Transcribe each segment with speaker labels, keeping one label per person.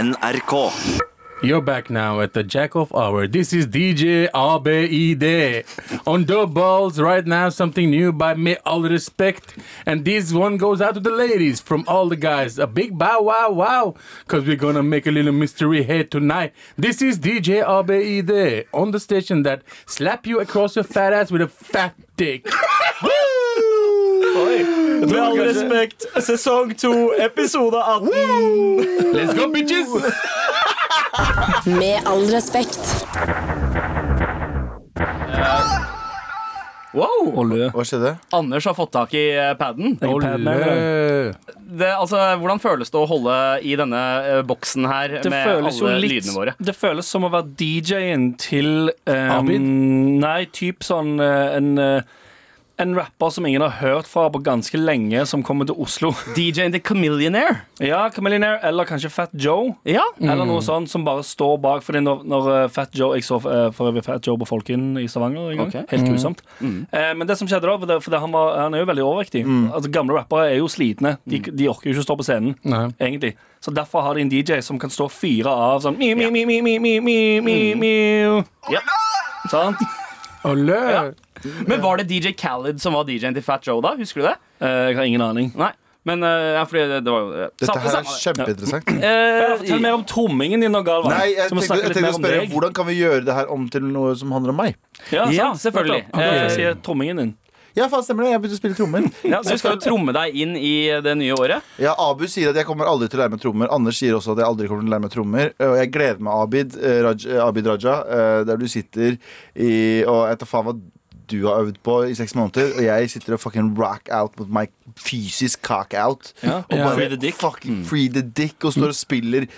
Speaker 1: NRK.
Speaker 2: You're back now at the Jack of Hour. This is DJ ABID. On the balls right now, something new by me, all respect. And this one goes out to the ladies from all the guys. A big bow wow wow. Because we're going to make a little mystery here tonight. This is DJ ABID on the station that slap you across your fat ass with a fat dick.
Speaker 3: Med all respekt, sesong to, episode 18.
Speaker 2: Let's go, bitches!
Speaker 4: Med all respekt.
Speaker 3: Wow!
Speaker 5: Olje.
Speaker 6: Hva skjedde?
Speaker 3: Anders har fått tak i eh, paden.
Speaker 2: Ole.
Speaker 3: Det, altså, hvordan føles det å holde i denne eh, boksen her
Speaker 5: Det
Speaker 3: med
Speaker 5: føles jo
Speaker 3: alle
Speaker 5: litt
Speaker 3: lydene våre?
Speaker 5: Det føles som å være DJ-en til eh,
Speaker 2: Abid?
Speaker 5: Nei, typ sånn eh, en eh, en rapper som ingen har hørt fra på ganske lenge, som kommer til Oslo.
Speaker 3: DJ-en til Chameleonaire?
Speaker 5: Ja, Chameleonaire, eller kanskje Fat Joe.
Speaker 3: Ja.
Speaker 6: Mm.
Speaker 5: Eller noe sånt som bare står bak. Fordi når, når eh, Fat Joe Jeg så eh, for øvrig Fat Joe på Folken i Stavanger en gang.
Speaker 3: Ok.
Speaker 6: Mm.
Speaker 5: Helt grusomt. Eh, men det som skjedde da, for, det, for det, han, var, han er jo veldig overvektig.
Speaker 6: Mm.
Speaker 5: Altså, gamle rappere er jo slitne. De, de orker jo ikke å stå på scenen.
Speaker 2: Nei.
Speaker 5: Egentlig Så derfor har de en DJ som kan stå og fyre av sånn mi, mi, mi, mi, mi, mi, mi, mi,
Speaker 6: Mm.
Speaker 5: mi.
Speaker 3: Ja.
Speaker 5: Sant?
Speaker 2: Ole.
Speaker 3: Men var det DJ Khaled som var DJ-en til Fat Joe, da? Husker du det?
Speaker 5: Eh, jeg har ingen aning.
Speaker 3: Nei. Men eh, ja, fordi det, det var jo
Speaker 6: Dette
Speaker 3: Samme-
Speaker 6: her er
Speaker 3: samme-
Speaker 6: kjempeinteressant.
Speaker 3: Eh,
Speaker 5: Fortell mer om trommingen din, nå, Galvan.
Speaker 6: Nei, jeg
Speaker 5: Så må vi
Speaker 6: tenkte,
Speaker 5: snakke litt
Speaker 6: jeg tenkte
Speaker 5: mer
Speaker 6: å
Speaker 5: om
Speaker 6: spørre
Speaker 5: deg.
Speaker 6: Hvordan kan vi gjøre det her om til noe som handler om meg?
Speaker 5: Ja,
Speaker 3: Ja,
Speaker 5: sant,
Speaker 3: selvfølgelig.
Speaker 5: nettopp. Han kan
Speaker 3: Eh,
Speaker 5: si trommingen din.
Speaker 6: Ja, faen stemmer det, jeg begynte å spille trommer.
Speaker 3: ja, så du skal jo tromme deg inn i det nye året.
Speaker 6: Ja, Abu sier at jeg kommer aldri til å lære meg trommer. Anders sier også at jeg aldri kommer til å lære meg trommer. Eh, Og jeg gleder meg, Abid, eh, Raj, eh, Abid Raja, eh, der du sitter i Og jeg tar faen hva du har øvd på i seks måneder, og jeg sitter og fucking rock out mot my fysisk cock out.
Speaker 5: Ja.
Speaker 6: Og bare
Speaker 5: Free the dick. Mm.
Speaker 6: fucking free the dick, og står og spiller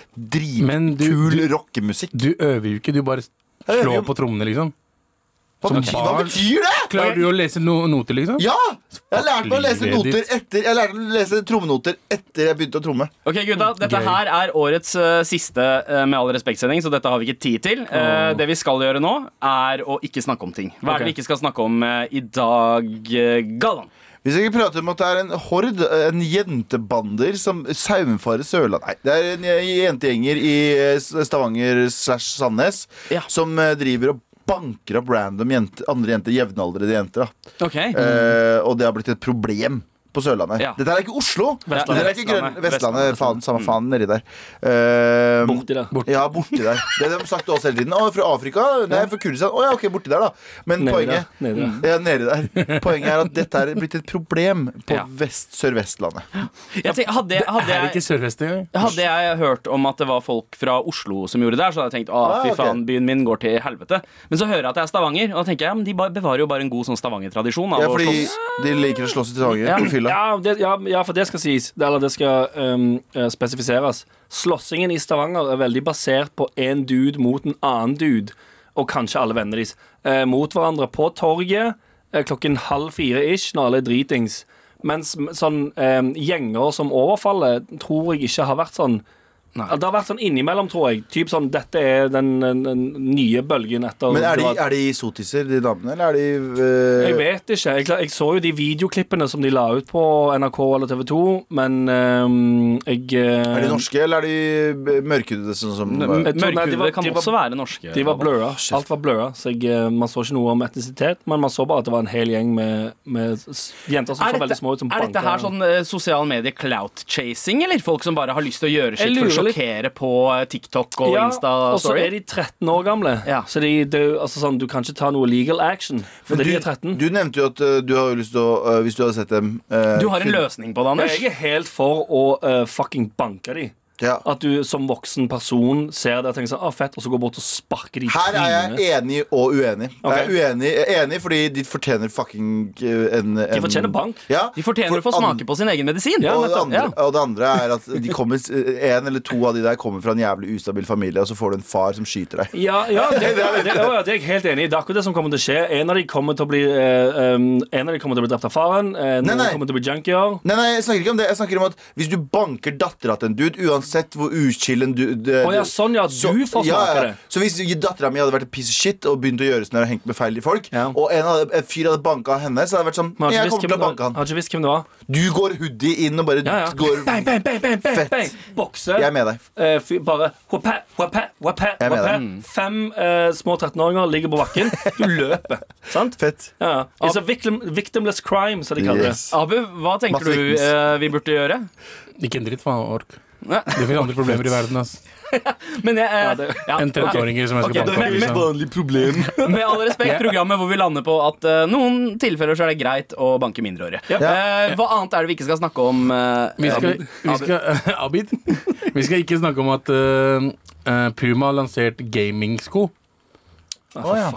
Speaker 2: Men du-
Speaker 6: dritkul
Speaker 2: du-
Speaker 6: rockemusikk.
Speaker 2: Du øver jo ikke, du bare slår på trommene, liksom.
Speaker 6: Hva,
Speaker 2: Som
Speaker 6: betyr- hva
Speaker 2: barn-
Speaker 6: betyr det?!
Speaker 2: Klarer du å lese no noter, liksom?
Speaker 6: Ja! Jeg lærte meg å lese
Speaker 2: Livet ditt.
Speaker 6: noter etter Jeg lærte å lese trommenoter etter jeg begynte å tromme.
Speaker 3: Ok,
Speaker 5: Mm,
Speaker 3: gutta, Dette
Speaker 2: Gøy.
Speaker 3: her er årets eh, siste eh, Med all respekt-sending, så dette har vi ikke tid til. Eh, det vi skal gjøre nå, er å ikke snakke om ting. Hva er det vi ikke skal snakke om eh, i dag, eh, Galvan?
Speaker 6: Hvis jeg ikke prater om at det er en hord, en jentebander, som saumfarer Sørlandet Nei, det er en jentegjenger i eh, Stavanger slash Sandnes
Speaker 3: Ja.
Speaker 6: som eh, driver og banker opp random jente, andre jenter, jevnaldrende jenter. Da.
Speaker 3: Okay.
Speaker 6: Eh, og det har blitt et problem. På Sørlandet.
Speaker 3: Ja.
Speaker 6: Dette er ikke Oslo.
Speaker 3: Vestlandet.
Speaker 6: Dette er ikke Grøn...
Speaker 3: Vestlandet.
Speaker 6: Vestlandet. Faen, samme faen nedi der. Eh,
Speaker 5: Borti der.
Speaker 2: Borti.
Speaker 6: Ja, borti der. Det har de sagt til oss hele tiden. Å, fra Afrika? Nei, fra Kurdistan. Å ja, ok, borti der, da. Men
Speaker 5: Nedi der.
Speaker 6: poenget
Speaker 5: Nedi der.
Speaker 6: ja, nede der. Poenget er at dette er blitt et problem på
Speaker 3: Ja.
Speaker 6: vest, Sør-Vestlandet.
Speaker 3: Jeg tenk, hadde, hadde,
Speaker 2: Er det
Speaker 3: jeg,
Speaker 2: ikke Sør-Vest engang?
Speaker 3: hadde jeg hørt om at det var folk fra Oslo som gjorde det der, så hadde jeg tenkt
Speaker 6: Ah,
Speaker 3: ah, fy
Speaker 6: ok.
Speaker 3: faen, byen min går til helvete. Men så hører jeg at det er Stavanger, og da tenker jeg, ja, men de ba- bevarer jo bare en god sånn Stavanger-tradisjon. av å
Speaker 6: Ja, fordi
Speaker 3: slåss.
Speaker 6: de liker å slåss i Stavanger
Speaker 3: Ja.
Speaker 6: på fylla.
Speaker 5: Ja, det, ja, ja, for det skal sies. Det, eller det skal ehm, eh, spesifiseres. Slåssingen i Stavanger er veldig basert på én dude mot en annen dude, og kanskje alle vennene deres, eh, mot hverandre på torget eh, klokken halv fire ish, når alle er dritings. Mens m- sånn ehm, gjenger som overfaller, tror jeg ikke har vært sånn. Ja, Det har vært sånn innimellom, tror jeg. Typ sånn, Dette er den, den, den nye bølgen etter
Speaker 6: Men er de,
Speaker 5: det var-
Speaker 6: er de sotiser, de damene, eller er
Speaker 5: jeg
Speaker 6: de eh,
Speaker 5: vet ikke. Jeg, kla- jeg så jo de videoklippene som de la ut på NRK eller TV 2, men ehm, jeg eh,
Speaker 6: Er de norske, eller er de eh, mørkhudede, sånn som
Speaker 5: jeg tror- nei, de var-
Speaker 3: Mørkhudede kan
Speaker 5: de var-
Speaker 3: også være norske.
Speaker 5: De var
Speaker 3: Galvan.
Speaker 5: blurra. Alt var blurra, så jeg, eh, man så ikke noe om etnisitet. Men man så bare at det var en hel gjeng med, med s- jenter som
Speaker 3: Er
Speaker 5: så veldig
Speaker 3: dette,
Speaker 5: små ut, som
Speaker 3: er dette
Speaker 5: banka-
Speaker 3: her sånn eh, sosial medie clout-chasing, eller? Folk som bare har lyst til å gjøre
Speaker 5: Jeg
Speaker 3: sitt for å
Speaker 5: lurer litt.
Speaker 3: sjokkere på eh, TikTok og
Speaker 5: ja, og så
Speaker 3: Insta-story?
Speaker 5: er de 13 år gamle,
Speaker 3: Ja.
Speaker 5: så de, det, er jo- altså sånn, du kan ikke ta noe legal action fordi de er 13.
Speaker 6: Du nevnte jo at eh, du har jo lyst til å eh, Hvis du hadde sett dem eh,
Speaker 3: Du har en løsning på det, Anders.
Speaker 5: jeg er helt for å eh, fucking banke de.
Speaker 6: ja.
Speaker 5: At du som voksen person ser det og tenker sånn, ah, fett, og så går bort og sparker de i
Speaker 6: Her er
Speaker 5: trynet.
Speaker 6: jeg enig og uenig. Jeg
Speaker 5: Ok.
Speaker 6: er uenig, jeg er enig fordi de fortjener fucking eh, en, en
Speaker 5: De fortjener bank.
Speaker 6: Ja,
Speaker 3: De fortjener å
Speaker 6: for
Speaker 3: få
Speaker 6: an-
Speaker 3: smake på sin egen medisin.
Speaker 5: Ja,
Speaker 6: og, det
Speaker 5: nettopp,
Speaker 6: andre, og det andre er at de kommer, eh, en eller to av de der kommer fra en jævlig ustabil familie, og så får du en far som skyter deg.
Speaker 5: Ja, ja, det, det, det, ja, ja, det er jeg helt enig i. Det er akkurat det som kommer til å skje. En av de kommer til å bli, eh, um, en av de kommer til å bli drept av faren. Eh, noen
Speaker 6: nei.
Speaker 5: kommer til å bli junkier.
Speaker 6: Nei, nei, jeg snakker ikke om det. Jeg snakker om at Hvis du banker dattera til en dude, uans Uansett hvor uchill en du det-
Speaker 5: Å ja, sånn ja,
Speaker 6: så-
Speaker 5: du får smake
Speaker 6: ja, ja.
Speaker 5: det.
Speaker 6: Så hvis dattera mi hadde vært en piece of shit og begynt å gjøre sånn her og hengt med feil folk,
Speaker 5: Ja.
Speaker 6: og en, hadde, en fyr hadde banka henne, så hadde det vært sånn
Speaker 5: Men
Speaker 6: Jeg
Speaker 5: har ikke
Speaker 6: kommer
Speaker 5: visst
Speaker 6: til å
Speaker 5: hvem-
Speaker 6: banke han.
Speaker 5: har ikke visst hvem det var.
Speaker 6: Du går hoodie inn og bare
Speaker 5: Ja, ja.
Speaker 6: går
Speaker 5: Bang, bang, bang, bang, bang,
Speaker 6: Fett.
Speaker 5: bang. Bokse.
Speaker 6: Jeg er med deg.
Speaker 5: Eh, fy- bare wapæ, wapæ, wapæ,
Speaker 6: Jeg Mm. er med
Speaker 5: wapæ.
Speaker 6: deg.
Speaker 5: Fem eh, små 13-åringer ligger på bakken. Du løper. Sant?
Speaker 6: Fett.
Speaker 5: Ja, ja. It's a victim, victimless crime, som de kaller det.
Speaker 6: Yes.
Speaker 3: Abu, hva tenker
Speaker 6: Masse
Speaker 3: du
Speaker 6: victims.
Speaker 3: eh, vi burde gjøre?
Speaker 2: Ikke en dritt, faen. Ork.
Speaker 3: Nei,
Speaker 2: Det finnes andre problemer i verden ass.
Speaker 3: Men jeg, eh,
Speaker 5: Ja, det-
Speaker 3: ja,
Speaker 2: enn 13-åringer som jeg skal
Speaker 3: Ok,
Speaker 2: banke opp.
Speaker 3: men-
Speaker 2: liksom.
Speaker 6: vanlig problem.
Speaker 3: Med all respekt, programmet hvor vi lander på at eh, noen tilfeller så er det greit å banke mindreårige. Eh, hva annet er det vi ikke skal snakke om? eh,
Speaker 2: Vi skal,
Speaker 3: Abid?
Speaker 2: vi skal, Abid? Vi skal ikke snakke om at eh, eh, Puma har lansert gamingsko.
Speaker 6: Å, ja.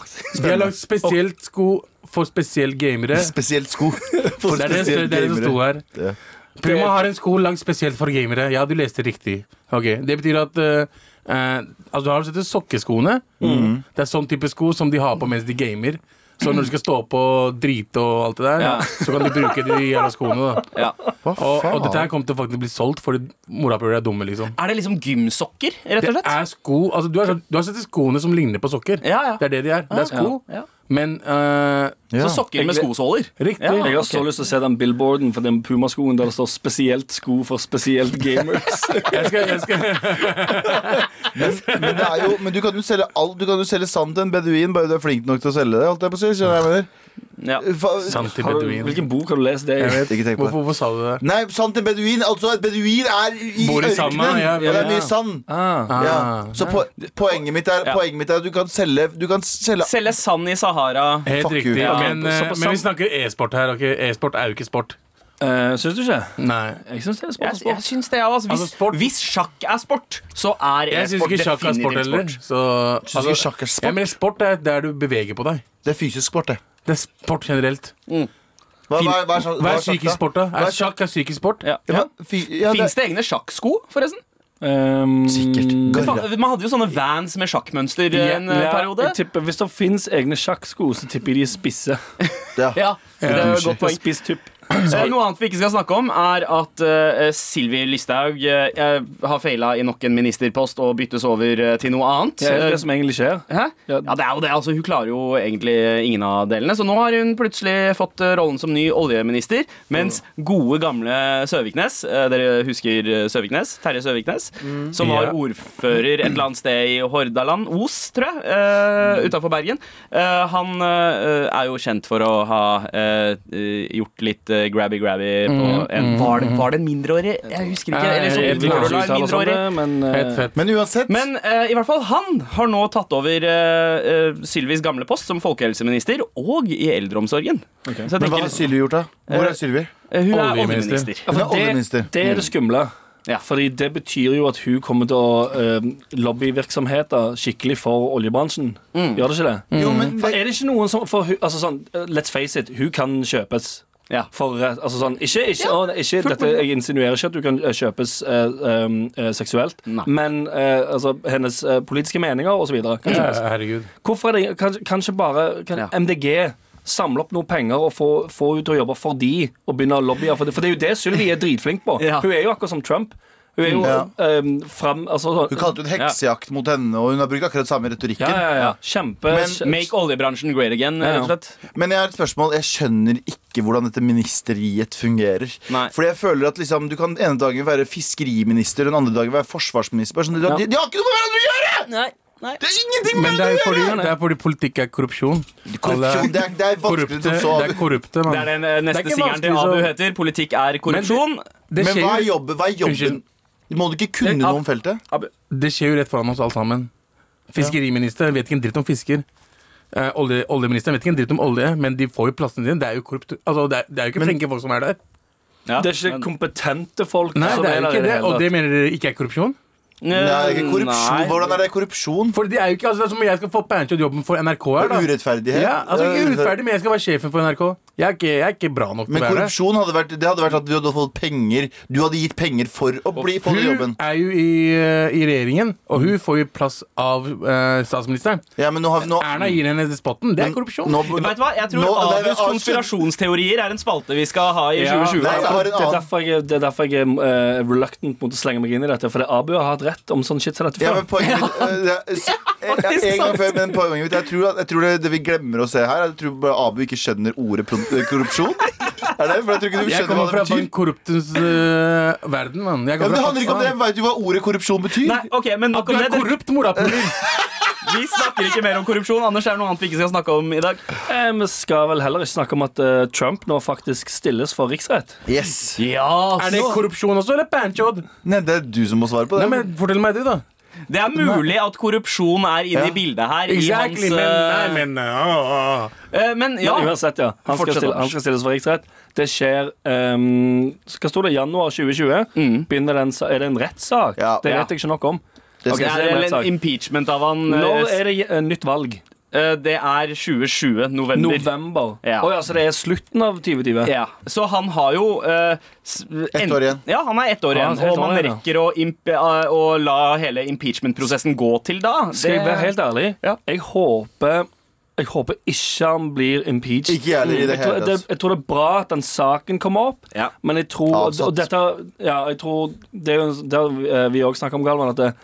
Speaker 2: De har lagd spesielt sko for spesielle gamere.
Speaker 6: Spesielt sko. For
Speaker 2: Det er det, det, er det som sto her.
Speaker 6: Ja.
Speaker 2: Puma har en sko lagd spesielt for gamere. Ja, du leste riktig. Ok, Det betyr at eh, eh, Altså, du har sett de sokkeskoene.
Speaker 6: Mm.
Speaker 2: Det er sånn type sko som de har på mens de gamer. Så når du skal stå på og drite og alt det der,
Speaker 3: Ja.
Speaker 2: så kan du bruke de jævla skoene. da
Speaker 3: ja.
Speaker 6: Hva
Speaker 2: Og,
Speaker 6: faen?
Speaker 2: og dette her kommer til å faktisk bli solgt fordi morapuler er dumme, liksom.
Speaker 3: Er det liksom gymsokker, rett
Speaker 2: Det
Speaker 3: og slett?
Speaker 2: er sko altså, du, har, du har sett de skoene som ligner på sokker.
Speaker 3: Ja, ja.
Speaker 2: Det er det de er. Det er sko,
Speaker 3: Ja, ja.
Speaker 2: men eh,
Speaker 6: Ja.
Speaker 3: Så sokker med skosåler?
Speaker 2: Riktig.
Speaker 3: Ja,
Speaker 5: Jeg har
Speaker 3: ok.
Speaker 5: så lyst til å se den billboarden for den pumaskoen der det står 'spesielt sko for spesielt gamers'.
Speaker 2: jeg skal, jeg skal,
Speaker 6: Men, det er jo, men du kan jo selge alt Du kan jo selge sand til en beduin, bare du er flink nok til å selge det. Holdt jeg på å si, skjønner du hva jeg
Speaker 3: Ja.
Speaker 6: mener? Fa-
Speaker 2: Sant til
Speaker 5: Har du,
Speaker 2: beduin.
Speaker 5: hvilken bok har du lest det i?
Speaker 2: Jeg vet
Speaker 6: Ikke tenk på
Speaker 2: Sånn
Speaker 6: det.
Speaker 2: Hvorfor, hvorfor sa du det?
Speaker 6: Nei, sand til en beduin. Altså, et beduin er i
Speaker 2: Bor i
Speaker 6: ørkenen.
Speaker 2: sanda, ja,
Speaker 6: og det
Speaker 2: ja.
Speaker 6: er mye sand.
Speaker 5: Ah.
Speaker 6: Ja.
Speaker 2: Ah.
Speaker 6: Så po poenget mitt er
Speaker 3: Ja.
Speaker 6: Poenget mitt er at du kan selge Du kan selge
Speaker 3: Selge sand i Sahara.
Speaker 2: Helt
Speaker 6: Fuck
Speaker 2: riktig.
Speaker 6: you.
Speaker 3: Ja,
Speaker 2: men,
Speaker 5: så
Speaker 2: eh,
Speaker 5: på
Speaker 2: men vi
Speaker 5: sam-
Speaker 2: snakker e-sport her. ok? E-sport er jo ikke sport.
Speaker 5: Eh, syns du ikke?
Speaker 2: Nei.
Speaker 5: Jeg syns det er
Speaker 3: Jeg,
Speaker 5: sport.
Speaker 3: jeg syns det, altså. Hvis,
Speaker 2: Altså, sport-
Speaker 3: hvis sjakk er sport, så er
Speaker 2: Jeg syns
Speaker 3: e-sport
Speaker 2: ikke sjakk er sport
Speaker 3: definitivt
Speaker 2: heller.
Speaker 3: sport.
Speaker 2: Så,
Speaker 6: Syns ikke sjakk er sport?
Speaker 2: Jeg mener, sport er der du beveger på deg.
Speaker 6: Det er fysisk sport, det.
Speaker 2: Det er sport generelt.
Speaker 6: Hva, hva, hva er, sjakk-
Speaker 2: Hva
Speaker 6: hva
Speaker 2: er psykisk sport, da?
Speaker 6: Hva
Speaker 2: Er sjakk er psykisk sport?
Speaker 3: Ja.
Speaker 6: Ja, men fy, ja,
Speaker 3: Fins det egne sjakksko, forresten?
Speaker 5: Um,
Speaker 6: Sikkert.
Speaker 5: det-
Speaker 6: Garra.
Speaker 3: Faen, Man hadde jo sånne vans med sjakkmønster eh, en eh,
Speaker 5: Ja,
Speaker 3: periode.
Speaker 5: jeg tipper, hvis det fins egne sjakksko, så tipper jeg de er spisse.
Speaker 6: Ja.
Speaker 3: Ja, det er jo et godt poeng.
Speaker 5: Spiss tupp.
Speaker 3: Eh, Noe annet vi ikke skal snakke om, er at uh, Sylvi Listhaug eh, har feila i nok en ministerpost og byttes over eh, til noe annet.
Speaker 5: Det er det
Speaker 3: Eh,
Speaker 5: som egentlig skjer.
Speaker 3: Hæ?
Speaker 5: Ja.
Speaker 3: Ja, det er jo det. Altså, hun klarer jo egentlig ingen av delene. Så nå har hun plutselig fått eh, rollen som ny oljeminister, mens gode, gamle Søviknes eh, Dere husker eh, Søviknes? Terje Søviknes? Som var
Speaker 2: Ja.
Speaker 3: ordfører et eller annet sted i Hordaland. Os, tror jeg. Uh, Utafor Bergen. Eh, han eh, er jo kjent for å ha eh, eh, gjort litt eh, grabby-grabby på en Var det, var det en mindreårig? Jeg husker ikke.
Speaker 2: Nei,
Speaker 3: Eller sånn
Speaker 2: jeg vet ikke Hvordan er
Speaker 3: utvikler en
Speaker 5: Kanskje vi taler sånn,
Speaker 3: mindreårig.
Speaker 5: eh, men, eh,
Speaker 2: Fett, fett.
Speaker 6: Men uansett
Speaker 3: Men eh, i hvert fall han har nå tatt over eh, eh, Sylvis gamle post som folkehelseminister og i eldreomsorgen. Så jeg
Speaker 6: Men hva
Speaker 3: tenker,
Speaker 6: har Sylvi gjort, da? Hvor
Speaker 3: Eh,
Speaker 6: er Sylvi?
Speaker 3: eh, hun er
Speaker 2: Oljeminister.
Speaker 3: oljeminister.
Speaker 5: Ja, for
Speaker 6: Hun er oljeminister.
Speaker 5: Det, det er det skumle.
Speaker 3: Ja.
Speaker 5: Fordi det betyr jo at hun kommer til å eh, lobbyvirksomheter skikkelig for oljebransjen. Gjør det ikke det?
Speaker 6: Jo, men
Speaker 5: For er det ikke noen som for, hun- altså sånn, eh, Let's face it, hun kan kjøpes.
Speaker 3: Ja.
Speaker 5: For, eh, altså sånn, ikke, ikke, å, nei, ikke
Speaker 3: fullt
Speaker 5: dette, Jeg insinuerer ikke at du kan eh, kjøpes eh, um, eh, seksuelt,
Speaker 3: Nei.
Speaker 5: men eh, altså, hennes eh, politiske meninger osv. kan
Speaker 2: Ja,
Speaker 5: kjøpes.
Speaker 2: herregud.
Speaker 5: Hvorfor er det kan, Kanskje bare kan
Speaker 3: Ja.
Speaker 5: MDG samle opp noe penger og få, få henne til å jobbe for de og begynne å lobbye for det? For det er jo det Sylvi er dritflink på.
Speaker 3: Ja.
Speaker 5: Hun er jo akkurat som Trump. Hun er jo
Speaker 6: Ja.
Speaker 5: um, fram altså, sånn-
Speaker 6: Hun kalte jo en heksejakt mot henne, og hun har brukt akkurat samme retorikken.
Speaker 5: ja, ja, ja. Kjempe
Speaker 6: Men-
Speaker 3: Make oljebransjen great again, eh,
Speaker 5: Ja, ja.
Speaker 3: rett og slett.
Speaker 6: Men jeg har et spørsmål. Jeg skjønner ikke hvordan dette ministeriet fungerer.
Speaker 3: Nei.
Speaker 6: Fordi jeg føler at liksom, du kan ene dagen være fiskeriminister, og den andre dagen være forsvarsminister. Bare Sånn, de, de, de har ikke noe med hverandre å gjøre!
Speaker 3: Nei, nei.
Speaker 6: Det er ingenting med
Speaker 2: Men det er,
Speaker 6: hverandre å
Speaker 2: fordi,
Speaker 6: gjøre!
Speaker 2: det er fordi politikk er korrupsjon.
Speaker 6: Korrupsjon,
Speaker 2: Alle
Speaker 6: det, er, det er vanskelig
Speaker 2: korrupte,
Speaker 6: som
Speaker 2: det er
Speaker 6: så.
Speaker 2: korrupte
Speaker 3: Det er
Speaker 2: mann.
Speaker 3: den eh,
Speaker 2: Det er
Speaker 3: neste
Speaker 2: ikke
Speaker 3: singelen til
Speaker 2: vanskelig,
Speaker 3: Abu
Speaker 2: så-
Speaker 3: heter 'Politikk er korrupsjon'.
Speaker 2: Det
Speaker 6: Men hva
Speaker 2: skjer,
Speaker 6: er
Speaker 2: jo,
Speaker 6: jobben? Hva er jobben?
Speaker 2: Unnskyld.
Speaker 6: Må du ikke kunne
Speaker 3: Det-
Speaker 6: noe om feltet?
Speaker 3: Abu.
Speaker 2: det skjer jo rett foran oss alle sammen. Fiskeriministeren vet ikke en dritt om fisker. Eh, olje, oljeministeren vet ikke en dritt om olje, men de får jo plassen sin. Det er jo korrupt altså, det, er, det er jo ikke flinke folk som er der.
Speaker 3: Ja,
Speaker 5: Det er ikke
Speaker 3: men-
Speaker 5: kompetente folk
Speaker 2: Nei,
Speaker 5: som
Speaker 2: det er jo
Speaker 5: der i
Speaker 2: ikke det,
Speaker 5: hele
Speaker 2: Og det
Speaker 5: tatt.
Speaker 2: mener dere ikke er korrupsjon?
Speaker 6: Nei, det er ikke korrupsjon.
Speaker 3: Nei.
Speaker 6: Hvordan er det korrupsjon?
Speaker 2: Eh, For det er jo ikke, altså, det er som om jeg skal få Pancho jobben for NRK her, da.
Speaker 6: Urettferdighet?
Speaker 2: Ja, altså ikke
Speaker 6: Eh,
Speaker 2: urettferdig, men jeg skal være sjefen for NRK. Jeg er ikke, jeg er ikke bra nok til
Speaker 6: Men
Speaker 2: å være her.
Speaker 6: korrupsjon hadde vært, det hadde vært at du hadde fått penger Du hadde gitt penger for å bli, få den
Speaker 2: Hun
Speaker 6: jobben.
Speaker 2: er jo i, eh, i regjeringen, og hun får jo plass av eh, statsministeren.
Speaker 6: Ja, men nå har vi nå,
Speaker 2: Erna gir henne spotten. Det er korrupsjon.
Speaker 6: Nå,
Speaker 3: Vet du hva? Jeg tror
Speaker 6: Nå- nei, men
Speaker 3: Abus
Speaker 6: avslutt.
Speaker 3: konspirasjonsteorier er en spalte vi skal ha i 2020.
Speaker 6: Nei, jeg har en
Speaker 5: det, er
Speaker 6: annen.
Speaker 5: derfor jeg, det er derfor jeg er eh, reluctant mot å slenge meg inn i dette. Fordi Abu har hatt rett om sånn shit som dette
Speaker 6: Ja,
Speaker 5: før.
Speaker 6: men poenget mitt øh, det er- s- jeg- jeg- En gang før, men poenget mitt Jeg tror, at, jeg tror det, det vi glemmer å se her er at Jeg tror bare Abu ikke skjønner ordet pro- øh, korrupsjon Er det? For jeg tror ikke du
Speaker 2: Jeg
Speaker 6: skjønner hva
Speaker 2: kommer
Speaker 6: det
Speaker 2: fra
Speaker 6: betyr
Speaker 2: den korruptens eh, verden, mann. Jeg
Speaker 6: ja,
Speaker 2: kommer
Speaker 6: men Det
Speaker 2: fra
Speaker 6: handler ikke om det, jeg
Speaker 2: Pakistan.
Speaker 6: vet jo hva ordet korrupsjon betyr
Speaker 3: Nei, ok, men nok
Speaker 2: Du
Speaker 3: om
Speaker 2: er
Speaker 3: det.
Speaker 2: korrupt, morapuler!
Speaker 3: Vi snakker ikke mer om korrupsjon. Anders, er det noe annet vi ikke skal snakke om i dag?
Speaker 5: Eh, vi skal vel heller ikke snakke om at eh, Trump nå faktisk stilles for riksrett.
Speaker 6: Yes
Speaker 3: Ja,
Speaker 2: Er det korrupsjon også, eller panchod?
Speaker 6: Nei, det er du som må svare på det
Speaker 2: Nei, men Fortell meg det, da.
Speaker 3: Det er mulig at korrupsjon er inne i bildet her.
Speaker 2: Exactly,
Speaker 3: i hans,
Speaker 2: men Nei, men
Speaker 3: eh,
Speaker 2: ah, ah.
Speaker 3: eh, men ja.
Speaker 5: Men uansett, ja. Han skal,
Speaker 3: Fortsett,
Speaker 5: stille, han
Speaker 3: Anders.
Speaker 5: skal stilles for riksrett. Det skjer ehm, Hva sto det? Januar 2020?
Speaker 2: Mm.
Speaker 5: Begynner den, sa- er det en rettssak?
Speaker 6: Ja.
Speaker 5: Det
Speaker 3: Ja.
Speaker 5: vet jeg ikke nok om.
Speaker 6: Det
Speaker 3: Det
Speaker 6: skal
Speaker 5: Ok,
Speaker 6: jeg
Speaker 3: er
Speaker 6: si.
Speaker 5: en
Speaker 3: vel
Speaker 5: rettssak.
Speaker 3: en impeachment av han. eh,
Speaker 5: Når er det eh, nytt valg?
Speaker 3: eh, det er 2020. November.
Speaker 5: November. Å ja.
Speaker 3: Ja.
Speaker 5: så det er slutten av 2020?
Speaker 3: Ja, Så han har jo eh, s-
Speaker 6: Ett
Speaker 3: en-
Speaker 6: år igjen.
Speaker 3: Ja, han er ett år
Speaker 5: Ja,
Speaker 3: igjen.
Speaker 5: han er helt
Speaker 3: og man
Speaker 5: år igjen,
Speaker 3: rekker å, imp eh, å la hele impeachment-prosessen gå til da.
Speaker 5: Skal jeg
Speaker 3: Det-
Speaker 5: være helt ærlig?
Speaker 3: Ja.
Speaker 5: Jeg håper jeg håper ikke han blir impeached.
Speaker 6: Ikke jeg heller i det
Speaker 5: jeg, tror,
Speaker 6: hele tatt.
Speaker 5: jeg tror det er bra at den saken kommer opp,
Speaker 3: Ja.
Speaker 5: men jeg tror og,
Speaker 6: Avsatt.
Speaker 5: og dette, ja, jeg tror Det er jo det har eh, vi òg snakka om, Galvan, at det,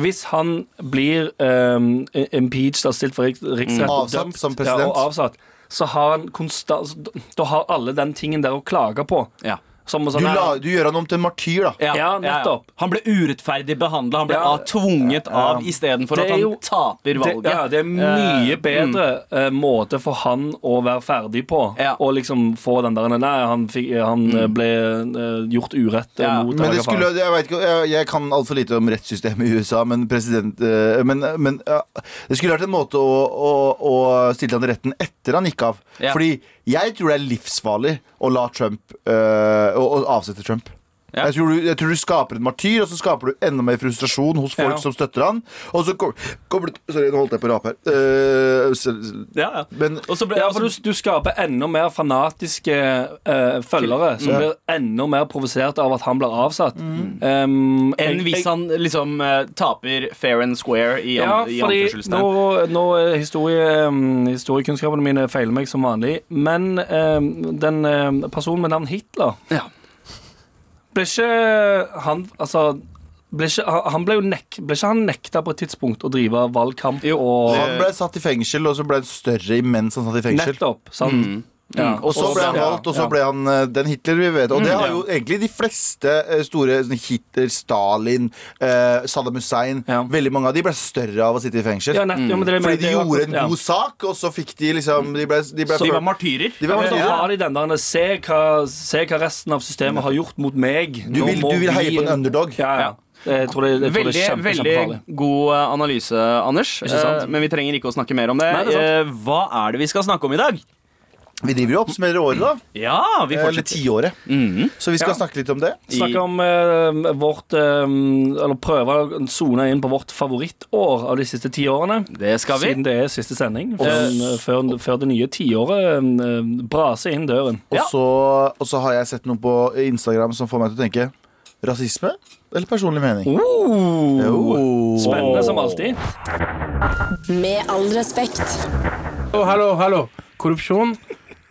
Speaker 5: hvis han blir ehm, i- impeached og stilt for riks-
Speaker 3: Mm.
Speaker 5: riksrett og
Speaker 6: Avsatt
Speaker 5: dømt,
Speaker 6: som president.
Speaker 5: Ja, og avsatt, så har han konstant Da har alle den tingen der å klage på.
Speaker 3: Ja.
Speaker 5: Som å
Speaker 6: du,
Speaker 5: sånn her-
Speaker 6: la, du gjør han om til en martyr da
Speaker 5: Ja, nettopp.
Speaker 3: Han ble urettferdig behandla. Han ble
Speaker 5: Ja.
Speaker 3: ah, tvunget av istedenfor
Speaker 5: Det
Speaker 3: at
Speaker 5: er
Speaker 3: han
Speaker 5: jo-
Speaker 3: taper valget.
Speaker 5: Det, ja, det er mye
Speaker 3: Eh,
Speaker 5: bedre eh, måte for han å være ferdig på.
Speaker 3: Ja. Mm.
Speaker 5: Og liksom få den der Nei, han, fikk, han eh, ble eh, gjort urett eh,
Speaker 3: Ja.
Speaker 5: mot
Speaker 6: Men
Speaker 5: eller
Speaker 6: det
Speaker 5: hva faen.
Speaker 6: skulle, jeg, vet ikke, jeg, jeg kan altfor lite om rettssystemet i USA, men, president, eh, men, men ja, det skulle vært en måte å, å, å stille han i retten etter han gikk av.
Speaker 3: Ja.
Speaker 6: Fordi jeg tror det er livsfarlig å la Trump eh, å, å avsette Trump.
Speaker 3: Ja.
Speaker 6: Jeg, tror du, jeg tror du skaper en martyr, og så skaper du enda mer frustrasjon hos folk
Speaker 5: Ja.
Speaker 6: som støtter han. Og så kom- kommer du Sorry, nå holdt jeg på å rape her. Eh, s- s-
Speaker 3: Ja, ja.
Speaker 6: men
Speaker 3: Og så ble,
Speaker 5: ja,
Speaker 3: og så-
Speaker 5: for du, du skaper enda mer fanatiske eh, følgere
Speaker 3: Mm.
Speaker 5: som blir enda mer provosert av at han blir avsatt. Um,
Speaker 3: enn
Speaker 5: jeg-
Speaker 3: hvis
Speaker 5: jeg-
Speaker 3: han liksom eh, taper fair and square i,
Speaker 5: ja,
Speaker 3: an, i
Speaker 5: fordi nå,
Speaker 3: anførselstegn.
Speaker 5: nå er historie, um, historiekunnskapene mine feiler meg som vanlig. Men um, den um, personen med navn Hitler
Speaker 3: Ja.
Speaker 5: Ble ikke han Altså ble ikke, han ble, jo nek, ble ikke han nekta på et tidspunkt å drive valgkamp
Speaker 3: Jo.
Speaker 5: og
Speaker 6: han ble satt i fengsel, og så ble han større imens han satt i fengsel. Mm.
Speaker 5: Nettopp. Sant? Ja.
Speaker 6: Og så ble han
Speaker 5: ja,
Speaker 6: valgt, og så
Speaker 5: ja. Mm,
Speaker 6: ble han eh, den Hitler vi vet. Og det har
Speaker 5: ja.
Speaker 6: jo egentlig de fleste eh, store sånn Hitler, Stalin, eh, Saddam Hussein
Speaker 5: Ja.
Speaker 6: Veldig mange av de ble større av å sitte i fengsel.
Speaker 5: Ja, nett, ja, men det er- det
Speaker 6: Fordi de
Speaker 5: er jo
Speaker 6: gjorde en
Speaker 5: akkurat-
Speaker 6: god sak, og så fikk de liksom De ble, de ble
Speaker 3: De
Speaker 6: følt-
Speaker 3: var martyrer.
Speaker 6: De var
Speaker 5: ja.
Speaker 6: martyrer.
Speaker 5: Så
Speaker 3: Ja.
Speaker 5: har de den der se hva, se hva resten av systemet har gjort mot meg.
Speaker 6: du,
Speaker 5: Nå
Speaker 6: vil,
Speaker 5: må
Speaker 6: du vil heie
Speaker 5: vi-
Speaker 6: på en underdog.
Speaker 5: Ja, ja. Jeg tror det, jeg tror
Speaker 3: Veldig,
Speaker 5: det er kjempe,
Speaker 3: veldig
Speaker 5: kjempefarlig.
Speaker 3: god eh, analyse, Anders.
Speaker 5: sant?
Speaker 3: Eh, men vi trenger ikke å snakke mer om det.
Speaker 5: Nei, det er
Speaker 3: Eh, hva er det vi skal snakke om i dag?
Speaker 6: Vi driver jo og oppsummerer året, da.
Speaker 3: Ja, vi
Speaker 6: Eller
Speaker 3: fortsetter.
Speaker 6: tiåret.
Speaker 3: Mhm.
Speaker 6: Så vi
Speaker 5: Ja.
Speaker 6: skal snakke litt om det.
Speaker 3: I-
Speaker 5: Snakke om eh, vårt eh, Eller prøve å sone inn på vårt favorittår av de siste ti årene.
Speaker 3: Det skal vi.
Speaker 5: Siden det er siste sending. Før, eh, før, før det nye tiåret eh, braser inn døren.
Speaker 6: Og
Speaker 3: Ja.
Speaker 6: så, og så har jeg sett noe på Instagram som får meg til å tenke rasisme eller personlig mening.
Speaker 5: Oh.
Speaker 6: Jo.
Speaker 5: Spennende som alltid.
Speaker 4: Med all respekt.
Speaker 2: Hallo, hallo, hallo. Korrupsjon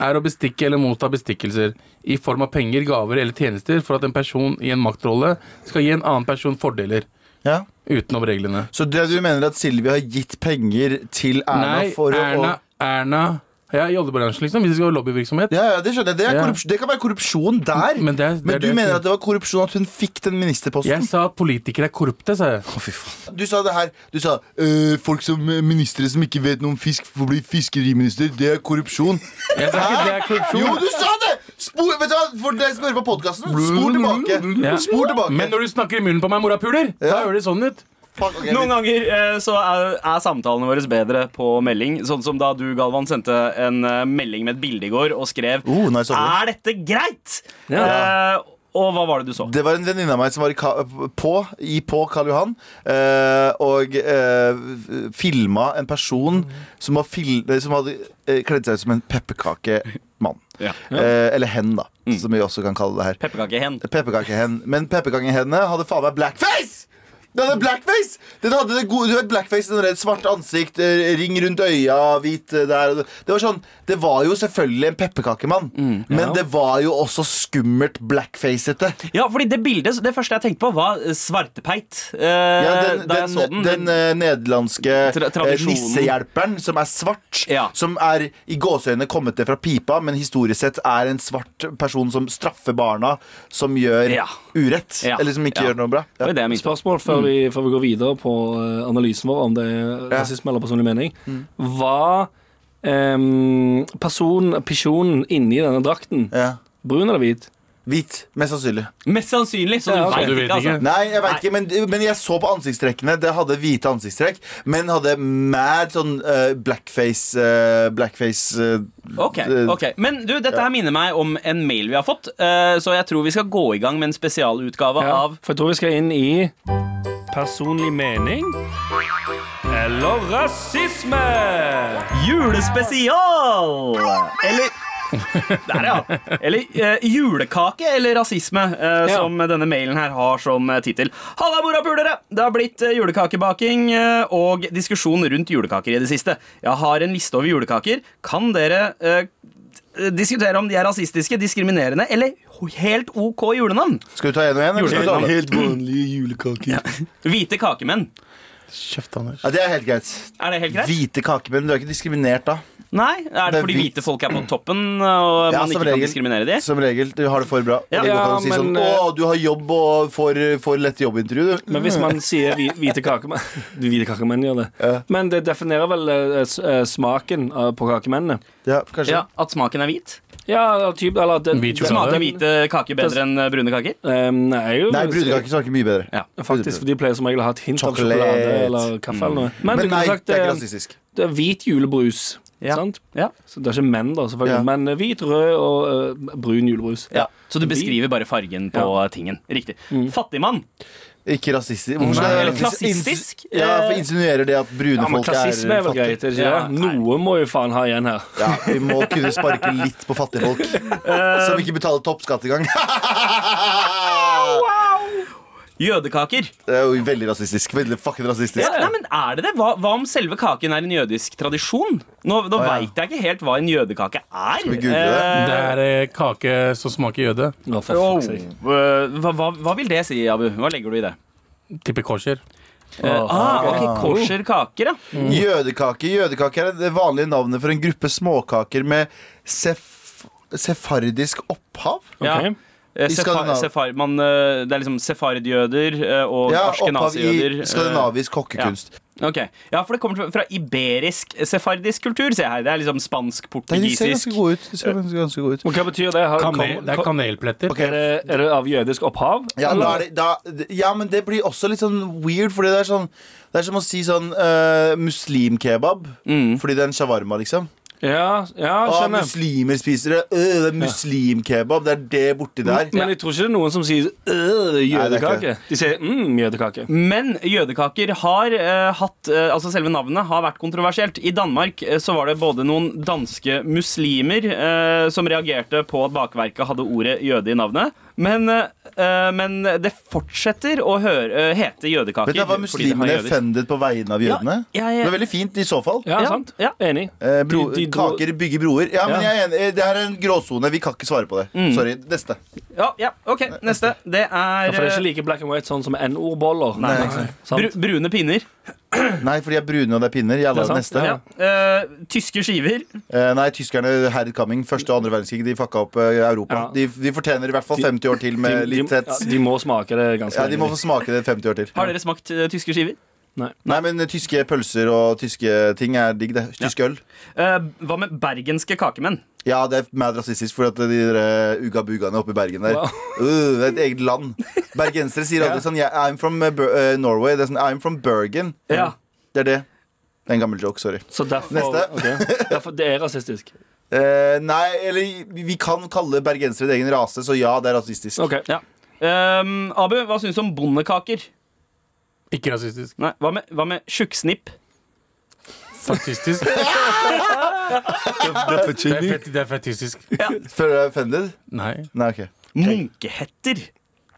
Speaker 2: er å bestikke eller motta bestikkelser i form av penger, gaver eller tjenester for at en person i en maktrolle skal gi en annen person fordeler
Speaker 6: Ja.
Speaker 2: utenom reglene.
Speaker 6: Så det du mener at Silvia har gitt penger til Erna
Speaker 2: Nei,
Speaker 6: for
Speaker 2: Erna,
Speaker 6: å
Speaker 2: Erna Ja, i oljebransjen, liksom. Hvis det skal være lobbyvirksomhet.
Speaker 6: ja, ja, det skjønner jeg. Det, er
Speaker 2: Ja.
Speaker 6: korrups- det kan være korrupsjon der.
Speaker 2: Men det er- det er
Speaker 6: du
Speaker 2: det jeg
Speaker 6: mener
Speaker 2: sier.
Speaker 6: at det var korrupsjon at hun fikk den ministerposten?
Speaker 2: Jeg sa at politikere er korrupte, sa jeg.
Speaker 6: Du sa det her. Du sa «Øh, folk som øh, ministre som ikke vet noe om fisk, får bli fiskeriminister. Det er korrupsjon.
Speaker 2: Jeg sa ikke det er korrupsjon.
Speaker 6: Jo, du sa det! Spor, vet du hva, For dere som hører på podkasten, spor tilbake.
Speaker 2: Mm. Ja.
Speaker 6: Spor tilbake.
Speaker 2: Men når du snakker i munnen på meg, morapuler, da
Speaker 6: Ja.
Speaker 2: høres det sånn ut.
Speaker 6: Fuck, ok,
Speaker 3: Noen ganger eh, så er, er samtalene våre bedre på melding. Sånn som da du, Galvan, sendte en eh, melding med et bilde i går og skrev
Speaker 6: Oh, nice over.
Speaker 3: Er dette greit?!
Speaker 5: Ja.
Speaker 3: Eh, og hva var det du så?
Speaker 6: Det var en venninne av meg som var i ka på, i på Karl Johan eh, og eh, eh, filma en person som, var fil som hadde eh, kledd seg ut som en pepperkake. mann.
Speaker 3: Ja.
Speaker 6: Eh, eller hen, da, som vi også kan kalle det her.
Speaker 3: Pepperkakehen.
Speaker 6: Pepperkakehen. Men pepperkakehendene hadde faen meg blackface! Den hadde blackface! Den hadde det gode, du vet blackface, den der svart ansikt, eh, ring rundt øya, hvit eh, der. Det var sånn, det var jo selvfølgelig en pepperkakemann, men det var jo også skummelt blackfacete.
Speaker 3: Ja, fordi det bildet, det første jeg tenkte på, var eh, svartepeit. eh,
Speaker 6: Ja, den,
Speaker 3: da jeg
Speaker 6: den,
Speaker 3: så den.
Speaker 6: den, eh, nederlandske
Speaker 3: Tra-
Speaker 6: eh,
Speaker 3: tradisjonen.
Speaker 6: nissehjelperen som er svart,
Speaker 3: Ja.
Speaker 6: som er i gåseøynene kommet det fra pipa, men historisk sett er en svart person som straffer barna som gjør
Speaker 3: Ja.
Speaker 6: urett,
Speaker 3: Ja.
Speaker 6: eller som ikke
Speaker 3: Ja.
Speaker 6: gjør noe bra.
Speaker 3: Det var
Speaker 6: Ja.
Speaker 3: det jeg mente.
Speaker 5: Spørsmål før, vi,
Speaker 3: Mm.
Speaker 5: før vi går videre på eh, analysen vår om det er
Speaker 6: Ja.
Speaker 5: rasisme eller personlig mening.
Speaker 3: Mm.
Speaker 5: Var um, person, pisjonen inni denne drakten
Speaker 6: Ja.
Speaker 5: brun eller hvit?
Speaker 6: Hvit, mest sannsynlig.
Speaker 3: Mest sannsynlig, så du
Speaker 5: Ja, ok.
Speaker 3: vet
Speaker 2: Du vet
Speaker 3: ikke, altså.
Speaker 2: ikke.
Speaker 6: Nei, jeg vet ikke, men, men jeg så på ansiktstrekkene. Det hadde hvite ansiktstrekk, men hadde mad sånn eh, blackface eh, Blackface eh,
Speaker 3: Ok,
Speaker 6: eh,
Speaker 3: ok Men du, dette her minner meg om en mail vi har fått, eh, så jeg tror vi skal gå i gang med en spesialutgave
Speaker 5: Ja,
Speaker 3: av
Speaker 5: for jeg tror vi skal inn i
Speaker 1: Personlig mening eller rasisme?
Speaker 3: Julespesial! Eller Der, ja. Eller eh, julekake eller rasisme, eh,
Speaker 5: Ja.
Speaker 3: som denne mailen her har som eh, tittel. Halla, morapulere! Det har blitt eh, julekakebaking eh, og diskusjon rundt julekaker i det siste. Jeg har en liste over julekaker. Kan dere eh, diskutere om de er rasistiske, diskriminerende eller helt OK julenavn?
Speaker 6: eh, Skal du ta en og en? eller skal vi ta alle?
Speaker 5: Helt vanlige julekaker.
Speaker 3: Hvite kakemenn.
Speaker 2: Kjeft, Anders.
Speaker 6: Ja, det er helt greit.
Speaker 3: Er det helt greit?
Speaker 6: Hvite kakemenn. Du er ikke diskriminert da.
Speaker 3: Nei, Er
Speaker 6: Det
Speaker 3: det
Speaker 6: er
Speaker 3: fordi
Speaker 6: hvit.
Speaker 3: hvite folk er på toppen, eh, og
Speaker 6: Ja,
Speaker 3: man
Speaker 6: som
Speaker 3: ikke kan
Speaker 6: regel.
Speaker 3: diskriminere de?
Speaker 6: Som regel. Du har det for bra.
Speaker 3: Ja.
Speaker 6: det går ikke an å si
Speaker 5: Ja,
Speaker 6: sånn,
Speaker 5: men, eh,
Speaker 6: Å, du har jobb og får, får lett jobbintervju, du.
Speaker 5: Men hvis man sier hvi- hvite kakemenn De hvite kakemenn gjør det.
Speaker 6: Ja.
Speaker 5: Men det definerer vel eh, s- eh, smaken av- på kakemennene.
Speaker 6: Ja, kanskje.
Speaker 3: Ja, At smaken er hvit?
Speaker 5: Ja, typ, eller den,
Speaker 2: Hvit
Speaker 5: den-
Speaker 2: sjokolade.
Speaker 3: Smaker
Speaker 5: den-
Speaker 3: hvite kaker bedre enn brune kaker?
Speaker 5: Eh, nei, jo,
Speaker 6: Nei, brudekaker smaker mye bedre.
Speaker 3: Ja.
Speaker 5: Faktisk, for de pleier som regel å ha et hint
Speaker 6: Sjokolade.
Speaker 5: av sjokolade eller kaffe. eller noe Men,
Speaker 6: Mm. Men
Speaker 5: du kunne
Speaker 6: nei,
Speaker 5: sagt
Speaker 6: det er ikke
Speaker 5: eh,
Speaker 6: rasistisk.
Speaker 5: det er hvit julebrus.
Speaker 3: Ja.
Speaker 5: Sant?
Speaker 3: Ja.
Speaker 5: Så det er ikke menn, da, selvfølgelig.
Speaker 6: Ja.
Speaker 5: Men eh, hvit, rød og eh, brun julebrus.
Speaker 3: Ja. Så du beskriver bare fargen på tingen. Riktig. Fattigmann.
Speaker 6: Ikke rasistisk. Hvorfor
Speaker 2: Nei,
Speaker 6: skal jeg-
Speaker 2: eller
Speaker 3: klassistisk.
Speaker 6: Ja, for insinuerer det at brune
Speaker 5: eh, Ja, men
Speaker 6: folk er
Speaker 5: klassisme er vel
Speaker 6: fattige.
Speaker 5: greit, er det ikke
Speaker 3: Ja,
Speaker 5: det?
Speaker 3: nei.
Speaker 5: Noe må jo faen ha igjen her.
Speaker 6: Ja, vi må kunne sparke litt på fattige folk
Speaker 5: Eh.
Speaker 6: Som ikke betaler toppskatt engang.
Speaker 3: Jødekaker.
Speaker 6: Det er jo veldig rasistisk. Veldig fucking rasistisk.
Speaker 3: Ja, nei, men er det det? Hva, hva om selve kaken er en jødisk tradisjon? Nå, nå
Speaker 6: ja.
Speaker 3: veit jeg ikke helt hva en jødekake er.
Speaker 6: vi google det?
Speaker 2: Det
Speaker 3: Eh,
Speaker 2: er eh, kake som smaker jøde.
Speaker 5: Nå, for
Speaker 3: oh,
Speaker 5: fuck's sake.
Speaker 3: eh, hva, hva, hva vil det si, Abu? Hva legger du i det?
Speaker 2: Tipper kosher.
Speaker 3: Eh, ah, ok, Kosher kaker, ja.
Speaker 6: Jødekake. Jødekake er det vanlige navnet for en gruppe småkaker med sef sefardisk opphav.
Speaker 3: ja.
Speaker 5: Ok.
Speaker 3: Eh,
Speaker 6: Skandinav-
Speaker 3: Sefar, sefar, man, eh, det er liksom sefardjøder eh, og
Speaker 6: Ja, opphav
Speaker 3: askenasijøder.
Speaker 6: i
Speaker 3: eh,
Speaker 6: skandinavisk kokkekunst.
Speaker 3: Ok, Ja, for det kommer fra- fra iberisk-sefardisk kultur, ser jeg her. Det er liksom
Speaker 6: Nei, De ser
Speaker 3: spansk-portugisisk.
Speaker 6: ganske gode ut. De ser ganske, ganske gode ut.
Speaker 5: Men hva betyr det? Har,
Speaker 2: Kanel,
Speaker 5: kom-
Speaker 2: det er
Speaker 5: kom-
Speaker 2: kanelpletter.
Speaker 5: er, det, er det av jødisk opphav?
Speaker 6: Ja,
Speaker 5: eller?
Speaker 6: da er det, da, ja, men det blir også litt sånn weird, fordi det er sånn Det er som å si sånn eh, muslimkebab,
Speaker 3: Mm.
Speaker 6: fordi det er en shawarma, liksom.
Speaker 5: ja, ja,
Speaker 6: Ah,
Speaker 5: skjønner.
Speaker 6: muslimer spiser det. Øh, det er muslimkebab. Det er det borti der.
Speaker 5: Men jeg tror ikke det er noen som sier øh,
Speaker 6: det er ikke
Speaker 5: jødekake.
Speaker 6: det.
Speaker 5: De sier mm, jødekake.
Speaker 3: Men jødekaker har eh, hatt eh, Altså selve navnet har vært kontroversielt. I Danmark eh, så var det både noen danske muslimer eh, som reagerte på at bakverket hadde ordet jøde i navnet. Men, eh, eh, men det fortsetter å høre, eh, hete jødekaker.
Speaker 6: Vet du
Speaker 3: fordi
Speaker 6: hva
Speaker 3: det har
Speaker 6: muslimene
Speaker 3: jøder.
Speaker 6: offended på vegne av jødene?
Speaker 3: Ja, jeg-
Speaker 6: Det er veldig fint i så fall.
Speaker 5: Ja,
Speaker 3: Ja,
Speaker 5: sant?
Speaker 3: ja.
Speaker 5: Enig.
Speaker 6: Eh, bro,
Speaker 5: De- de dro-
Speaker 6: kaker bygger broer. Ja,
Speaker 5: Ja. Mm.
Speaker 6: men jeg er enig. Eh, Det her er en gråsone. Vi kan ikke svare på det. Sorry. Neste.
Speaker 3: Ja, ja, OK, neste. Det
Speaker 5: Ja,
Speaker 3: er,
Speaker 5: for det er ikke
Speaker 3: eh,
Speaker 5: like black and white sånn som N-ordboller. Nei, sant?
Speaker 3: bru, brune pinner.
Speaker 6: Nei, for de er brune og det er pinner. Jalla,
Speaker 5: Det er sant.
Speaker 6: neste.
Speaker 3: Ja. Eh, tyske skiver.
Speaker 6: Eh, nei, tyskerne Herred Coming, første og andre verdenskrig, de fucka opp eh, Europa.
Speaker 5: Ja.
Speaker 6: De, de fortjener i hvert fall 50 år til med
Speaker 5: de,
Speaker 6: Eh, litt
Speaker 5: de,
Speaker 6: tett
Speaker 5: ja, de må smake det ganske
Speaker 6: Ja, de må
Speaker 5: lenge.
Speaker 6: få smake det 50 år til.
Speaker 3: Har dere smakt eh, tyske skiver?
Speaker 6: Nei, men eh, tyske pølser og tyske ting er digg, det. Tysk øl.
Speaker 3: Eh, hva med bergenske kakemenn?
Speaker 6: Ja, det er mad rasistisk, for at de der eh, ugabugaene oppe i Bergen der
Speaker 5: Wow.
Speaker 6: øh, Det er et eget land. Bergensere sier alltid sånn yeah, I'm from eh, Ber- eh, Norway. Det er sånn I'm from Bergen.
Speaker 3: Ja.
Speaker 6: Det er det. Det er en gammel joke, sorry.
Speaker 5: Så derfor,
Speaker 6: Neste.
Speaker 5: ok. derfor Det er rasistisk.
Speaker 6: Eh, nei, eller vi kan kalle bergensere en egen rase, så ja, det er rasistisk.
Speaker 5: Ok.
Speaker 3: Ja. Ehm, Abu, hva syns du om bondekaker?
Speaker 2: Ikke rasistisk.
Speaker 3: Nei, hva med, hva med tjukksnipp?
Speaker 2: Faktisk. Det er, fet, det er fetistisk.
Speaker 6: Føler du deg offended?
Speaker 2: Nei.
Speaker 6: Nei, ok.
Speaker 3: Munkehetter!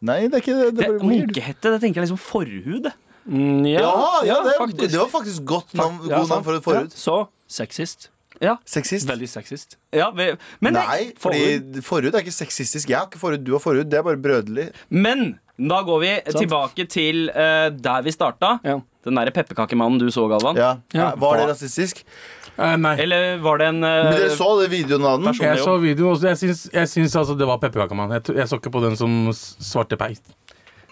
Speaker 6: Nei, det er ikke det. det,
Speaker 3: Det,
Speaker 6: er bare weird.
Speaker 3: munkehette, det tenker jeg liksom forhud.
Speaker 5: Mm, ja,
Speaker 6: Ja, ja, det,
Speaker 5: faktisk.
Speaker 6: det var faktisk godt navn,
Speaker 5: Ja,
Speaker 6: god navn
Speaker 5: sant.
Speaker 6: for et forhud.
Speaker 5: Ja, Så sexist.
Speaker 3: Ja,
Speaker 6: Sexist?
Speaker 5: Veldig sexist.
Speaker 3: ja, vi- men, det-
Speaker 6: Nei, fordi forhud er ikke sexistisk. Jeg har ikke forhud, du har forhud. Det er bare brødrelig.
Speaker 3: men da går vi
Speaker 5: Sant.
Speaker 3: tilbake til eh, der vi starta.
Speaker 5: Ja.
Speaker 3: Den derre pepperkakemannen du så, Galvan.
Speaker 6: Ja.
Speaker 5: Ja.
Speaker 6: Var det rasistisk?
Speaker 2: Eh, nei.
Speaker 3: Eller var det en eh,
Speaker 6: Men dere så det videoen av den?
Speaker 3: person-
Speaker 2: Jeg så videoen også. Jeg syns, jeg syns altså det var pepperkakemann. Jeg, tro- jeg så ikke på den som s- svarte peis.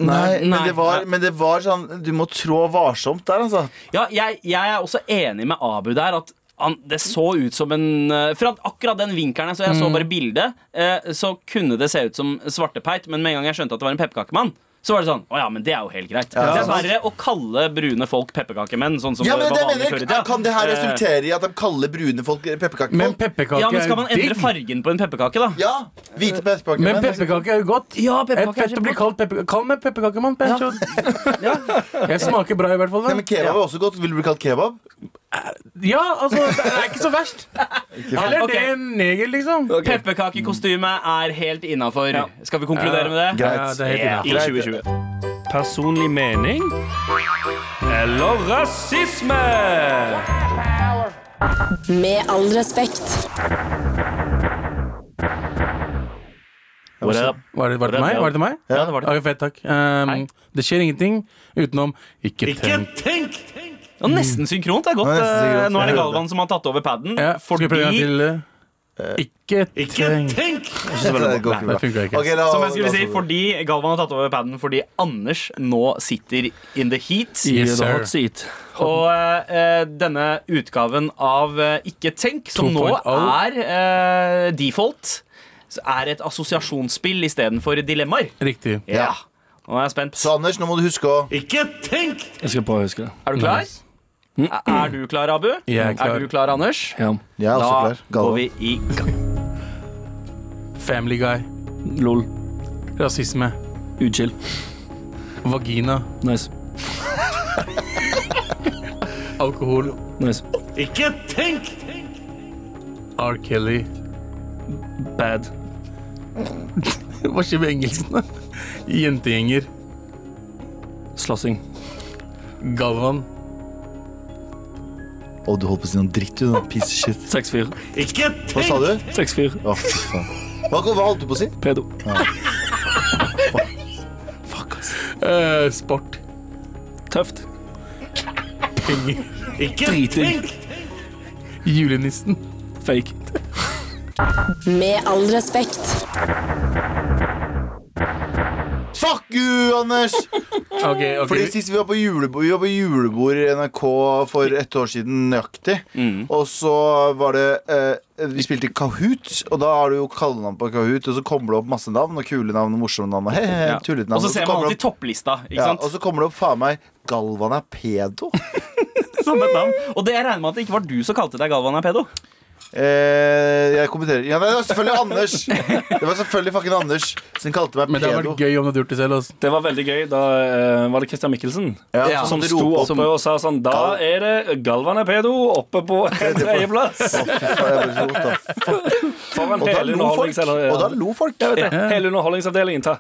Speaker 6: Nei, men
Speaker 3: Nei,
Speaker 6: det, var,
Speaker 3: nei.
Speaker 6: men det var sånn Du må trå varsomt der, altså.
Speaker 3: Ja, jeg, jeg er også enig med Abu der at han, det så ut som en eh, Fra akkurat den vinkelen jeg så, jeg så
Speaker 6: Mm.
Speaker 3: bare bildet, eh, så kunne det se ut som svartepeit, men med en gang jeg skjønte at det var en pepperkakemann, så var det sånn Å ja, men det er jo helt greit.
Speaker 6: Ja.
Speaker 3: Det er verre å kalle brune folk pepperkakemenn, sånn som
Speaker 6: Ja, men
Speaker 3: det var
Speaker 6: det mener
Speaker 3: vanlig før i tida.
Speaker 6: jeg Kan det her
Speaker 3: Eh,
Speaker 6: resultere i at de kaller brune folk pepperkakefolk?
Speaker 2: Men pepperkake
Speaker 3: ja, men skal man
Speaker 2: er jo
Speaker 3: endre
Speaker 2: digg.
Speaker 3: fargen på en pepperkake, da?
Speaker 6: ja, hvite pepperkaker.
Speaker 2: Men pepperkake er jo godt.
Speaker 3: Ja,
Speaker 2: Et
Speaker 3: pepperkake er
Speaker 2: fett å bli
Speaker 3: kjempegodt.
Speaker 2: kalt pepper... Kall meg pepperkakemann. Pancho. Jeg smaker bra, i hvert fall. Da.
Speaker 6: Nei, men kebab er også godt. Vil du bli kalt kebab?
Speaker 2: Ja, altså, det er ikke så verst. Heller
Speaker 3: Ok.
Speaker 2: det enn neger, liksom.
Speaker 3: Pepperkakekostyme er helt innafor. Skal vi konkludere med det?
Speaker 2: Ja, det er helt
Speaker 3: Ja,
Speaker 2: innenfor.
Speaker 3: I 2020.
Speaker 1: Personlig mening eller rasisme?
Speaker 4: Med all respekt.
Speaker 3: Hvor er det?
Speaker 2: Var det, var det til meg? Var det til meg?
Speaker 3: Ja, det var det.
Speaker 2: Ok, fett, takk. Um, det skjer ingenting utenom ikke,
Speaker 3: Ikke
Speaker 2: tenk.
Speaker 3: tenk! Ja, nesten synkront. det er godt.
Speaker 6: Ja, nesten
Speaker 3: eh,
Speaker 6: synkront.
Speaker 3: Nå er det
Speaker 6: Jeg
Speaker 3: Galvan som har tatt over paden.
Speaker 2: Ja, skal vi prøve en gang til? eh, Ikke
Speaker 1: Ikke
Speaker 2: tenk.
Speaker 1: tenk!
Speaker 6: Det går ikke
Speaker 2: Nei,
Speaker 6: bra.
Speaker 2: det funker ikke.
Speaker 6: Ok, la-
Speaker 3: Som jeg skulle
Speaker 6: la-
Speaker 3: si, fordi Galvan har tatt over paden fordi Anders nå sitter in the heat.
Speaker 2: Yes,
Speaker 5: The
Speaker 2: sir.
Speaker 5: hot seat.
Speaker 3: Og eh, denne utgaven av eh, Ikke tenk, som nå
Speaker 2: 2.0.
Speaker 3: er eh, default, så er et assosiasjonsspill istedenfor dilemmaer.
Speaker 2: Riktig.
Speaker 3: Ja. Nå er jeg spent.
Speaker 6: Så Anders, nå må du huske å
Speaker 1: Ikke tenk!
Speaker 5: Jeg skal prøve å huske det.
Speaker 3: Er du klar?
Speaker 2: Nice.
Speaker 3: Er- Er du klar, Abu?
Speaker 2: Jeg er klar.
Speaker 3: du klar, Anders?
Speaker 5: Ja.
Speaker 6: Jeg er også
Speaker 3: Da
Speaker 6: klar.
Speaker 3: går
Speaker 6: Galvan.
Speaker 3: vi i gang.
Speaker 2: Family guy.
Speaker 5: Lol.
Speaker 2: Rasisme.
Speaker 5: Uchill.
Speaker 2: Vagina.
Speaker 5: Nice.
Speaker 2: Alkohol.
Speaker 5: Nice.
Speaker 1: Ikke tenk!
Speaker 2: R. Kelly.
Speaker 5: Bad.
Speaker 2: Hva skjer med engelsken? da? Jentegjenger.
Speaker 5: Slåssing.
Speaker 2: Galvan.
Speaker 6: Å, du holdt på å si noe dritt, du. da. Piece of shit.
Speaker 5: 6-4.
Speaker 1: Ikke
Speaker 6: Hva sa
Speaker 1: tenk!
Speaker 6: du?
Speaker 5: 6-4.
Speaker 6: Å, fy faen. Hva, hva holdt du på å si?
Speaker 5: Pedo.
Speaker 2: eh, sport.
Speaker 5: Tøft.
Speaker 2: Penger.
Speaker 1: Ikke
Speaker 5: Driting.
Speaker 1: tenk!
Speaker 2: Julenissen.
Speaker 5: Fake.
Speaker 4: Med all respekt.
Speaker 6: Fuck you, Anders!
Speaker 2: Ok, ok.
Speaker 6: Fordi Sist vi var på julebord, vi var på julebord i NRK for ett år siden nøyaktig. Og så var det eh, Vi spilte Kahoot, og da har du jo kallenavn på Kahoot. Og så kommer det opp masse navn, og kule navn og morsomme navn. Og, he, he,
Speaker 3: Ja.
Speaker 6: tullete
Speaker 3: Og
Speaker 6: navn.
Speaker 3: så ser man
Speaker 6: kommer
Speaker 3: alltid
Speaker 6: det opp,
Speaker 3: topplista. ikke
Speaker 6: ja,
Speaker 3: sant?
Speaker 6: og så kommer det opp faen meg Galvan er pedo.
Speaker 3: Som et navn. Og det jeg regner med at det ikke var du som kalte deg Galvan er pedo.
Speaker 6: eh, jeg kommenterer Ja, det var selvfølgelig Anders! Det var selvfølgelig fucking Anders som kalte meg
Speaker 2: Men det hadde
Speaker 6: pedo.
Speaker 2: vært gøy om du hadde gjort det selv. Altså.
Speaker 5: Det var veldig gøy. Da eh, var det Christian Mikkelsen
Speaker 6: Ja,
Speaker 3: Ja,
Speaker 6: som
Speaker 5: som
Speaker 6: de
Speaker 5: sto
Speaker 6: roper
Speaker 5: oppe
Speaker 6: opp.
Speaker 5: og sa sånn Da er det Galvan er pedo oppe på en tredjeplass.
Speaker 6: Å, fy faen, jeg ble så rota.
Speaker 5: Foran
Speaker 6: Og da
Speaker 5: hele
Speaker 6: lo folk. Og da
Speaker 5: underholdningsavdelingen.
Speaker 6: lo folk. Jeg vet det.
Speaker 5: Hele underholdningsavdelingen ta.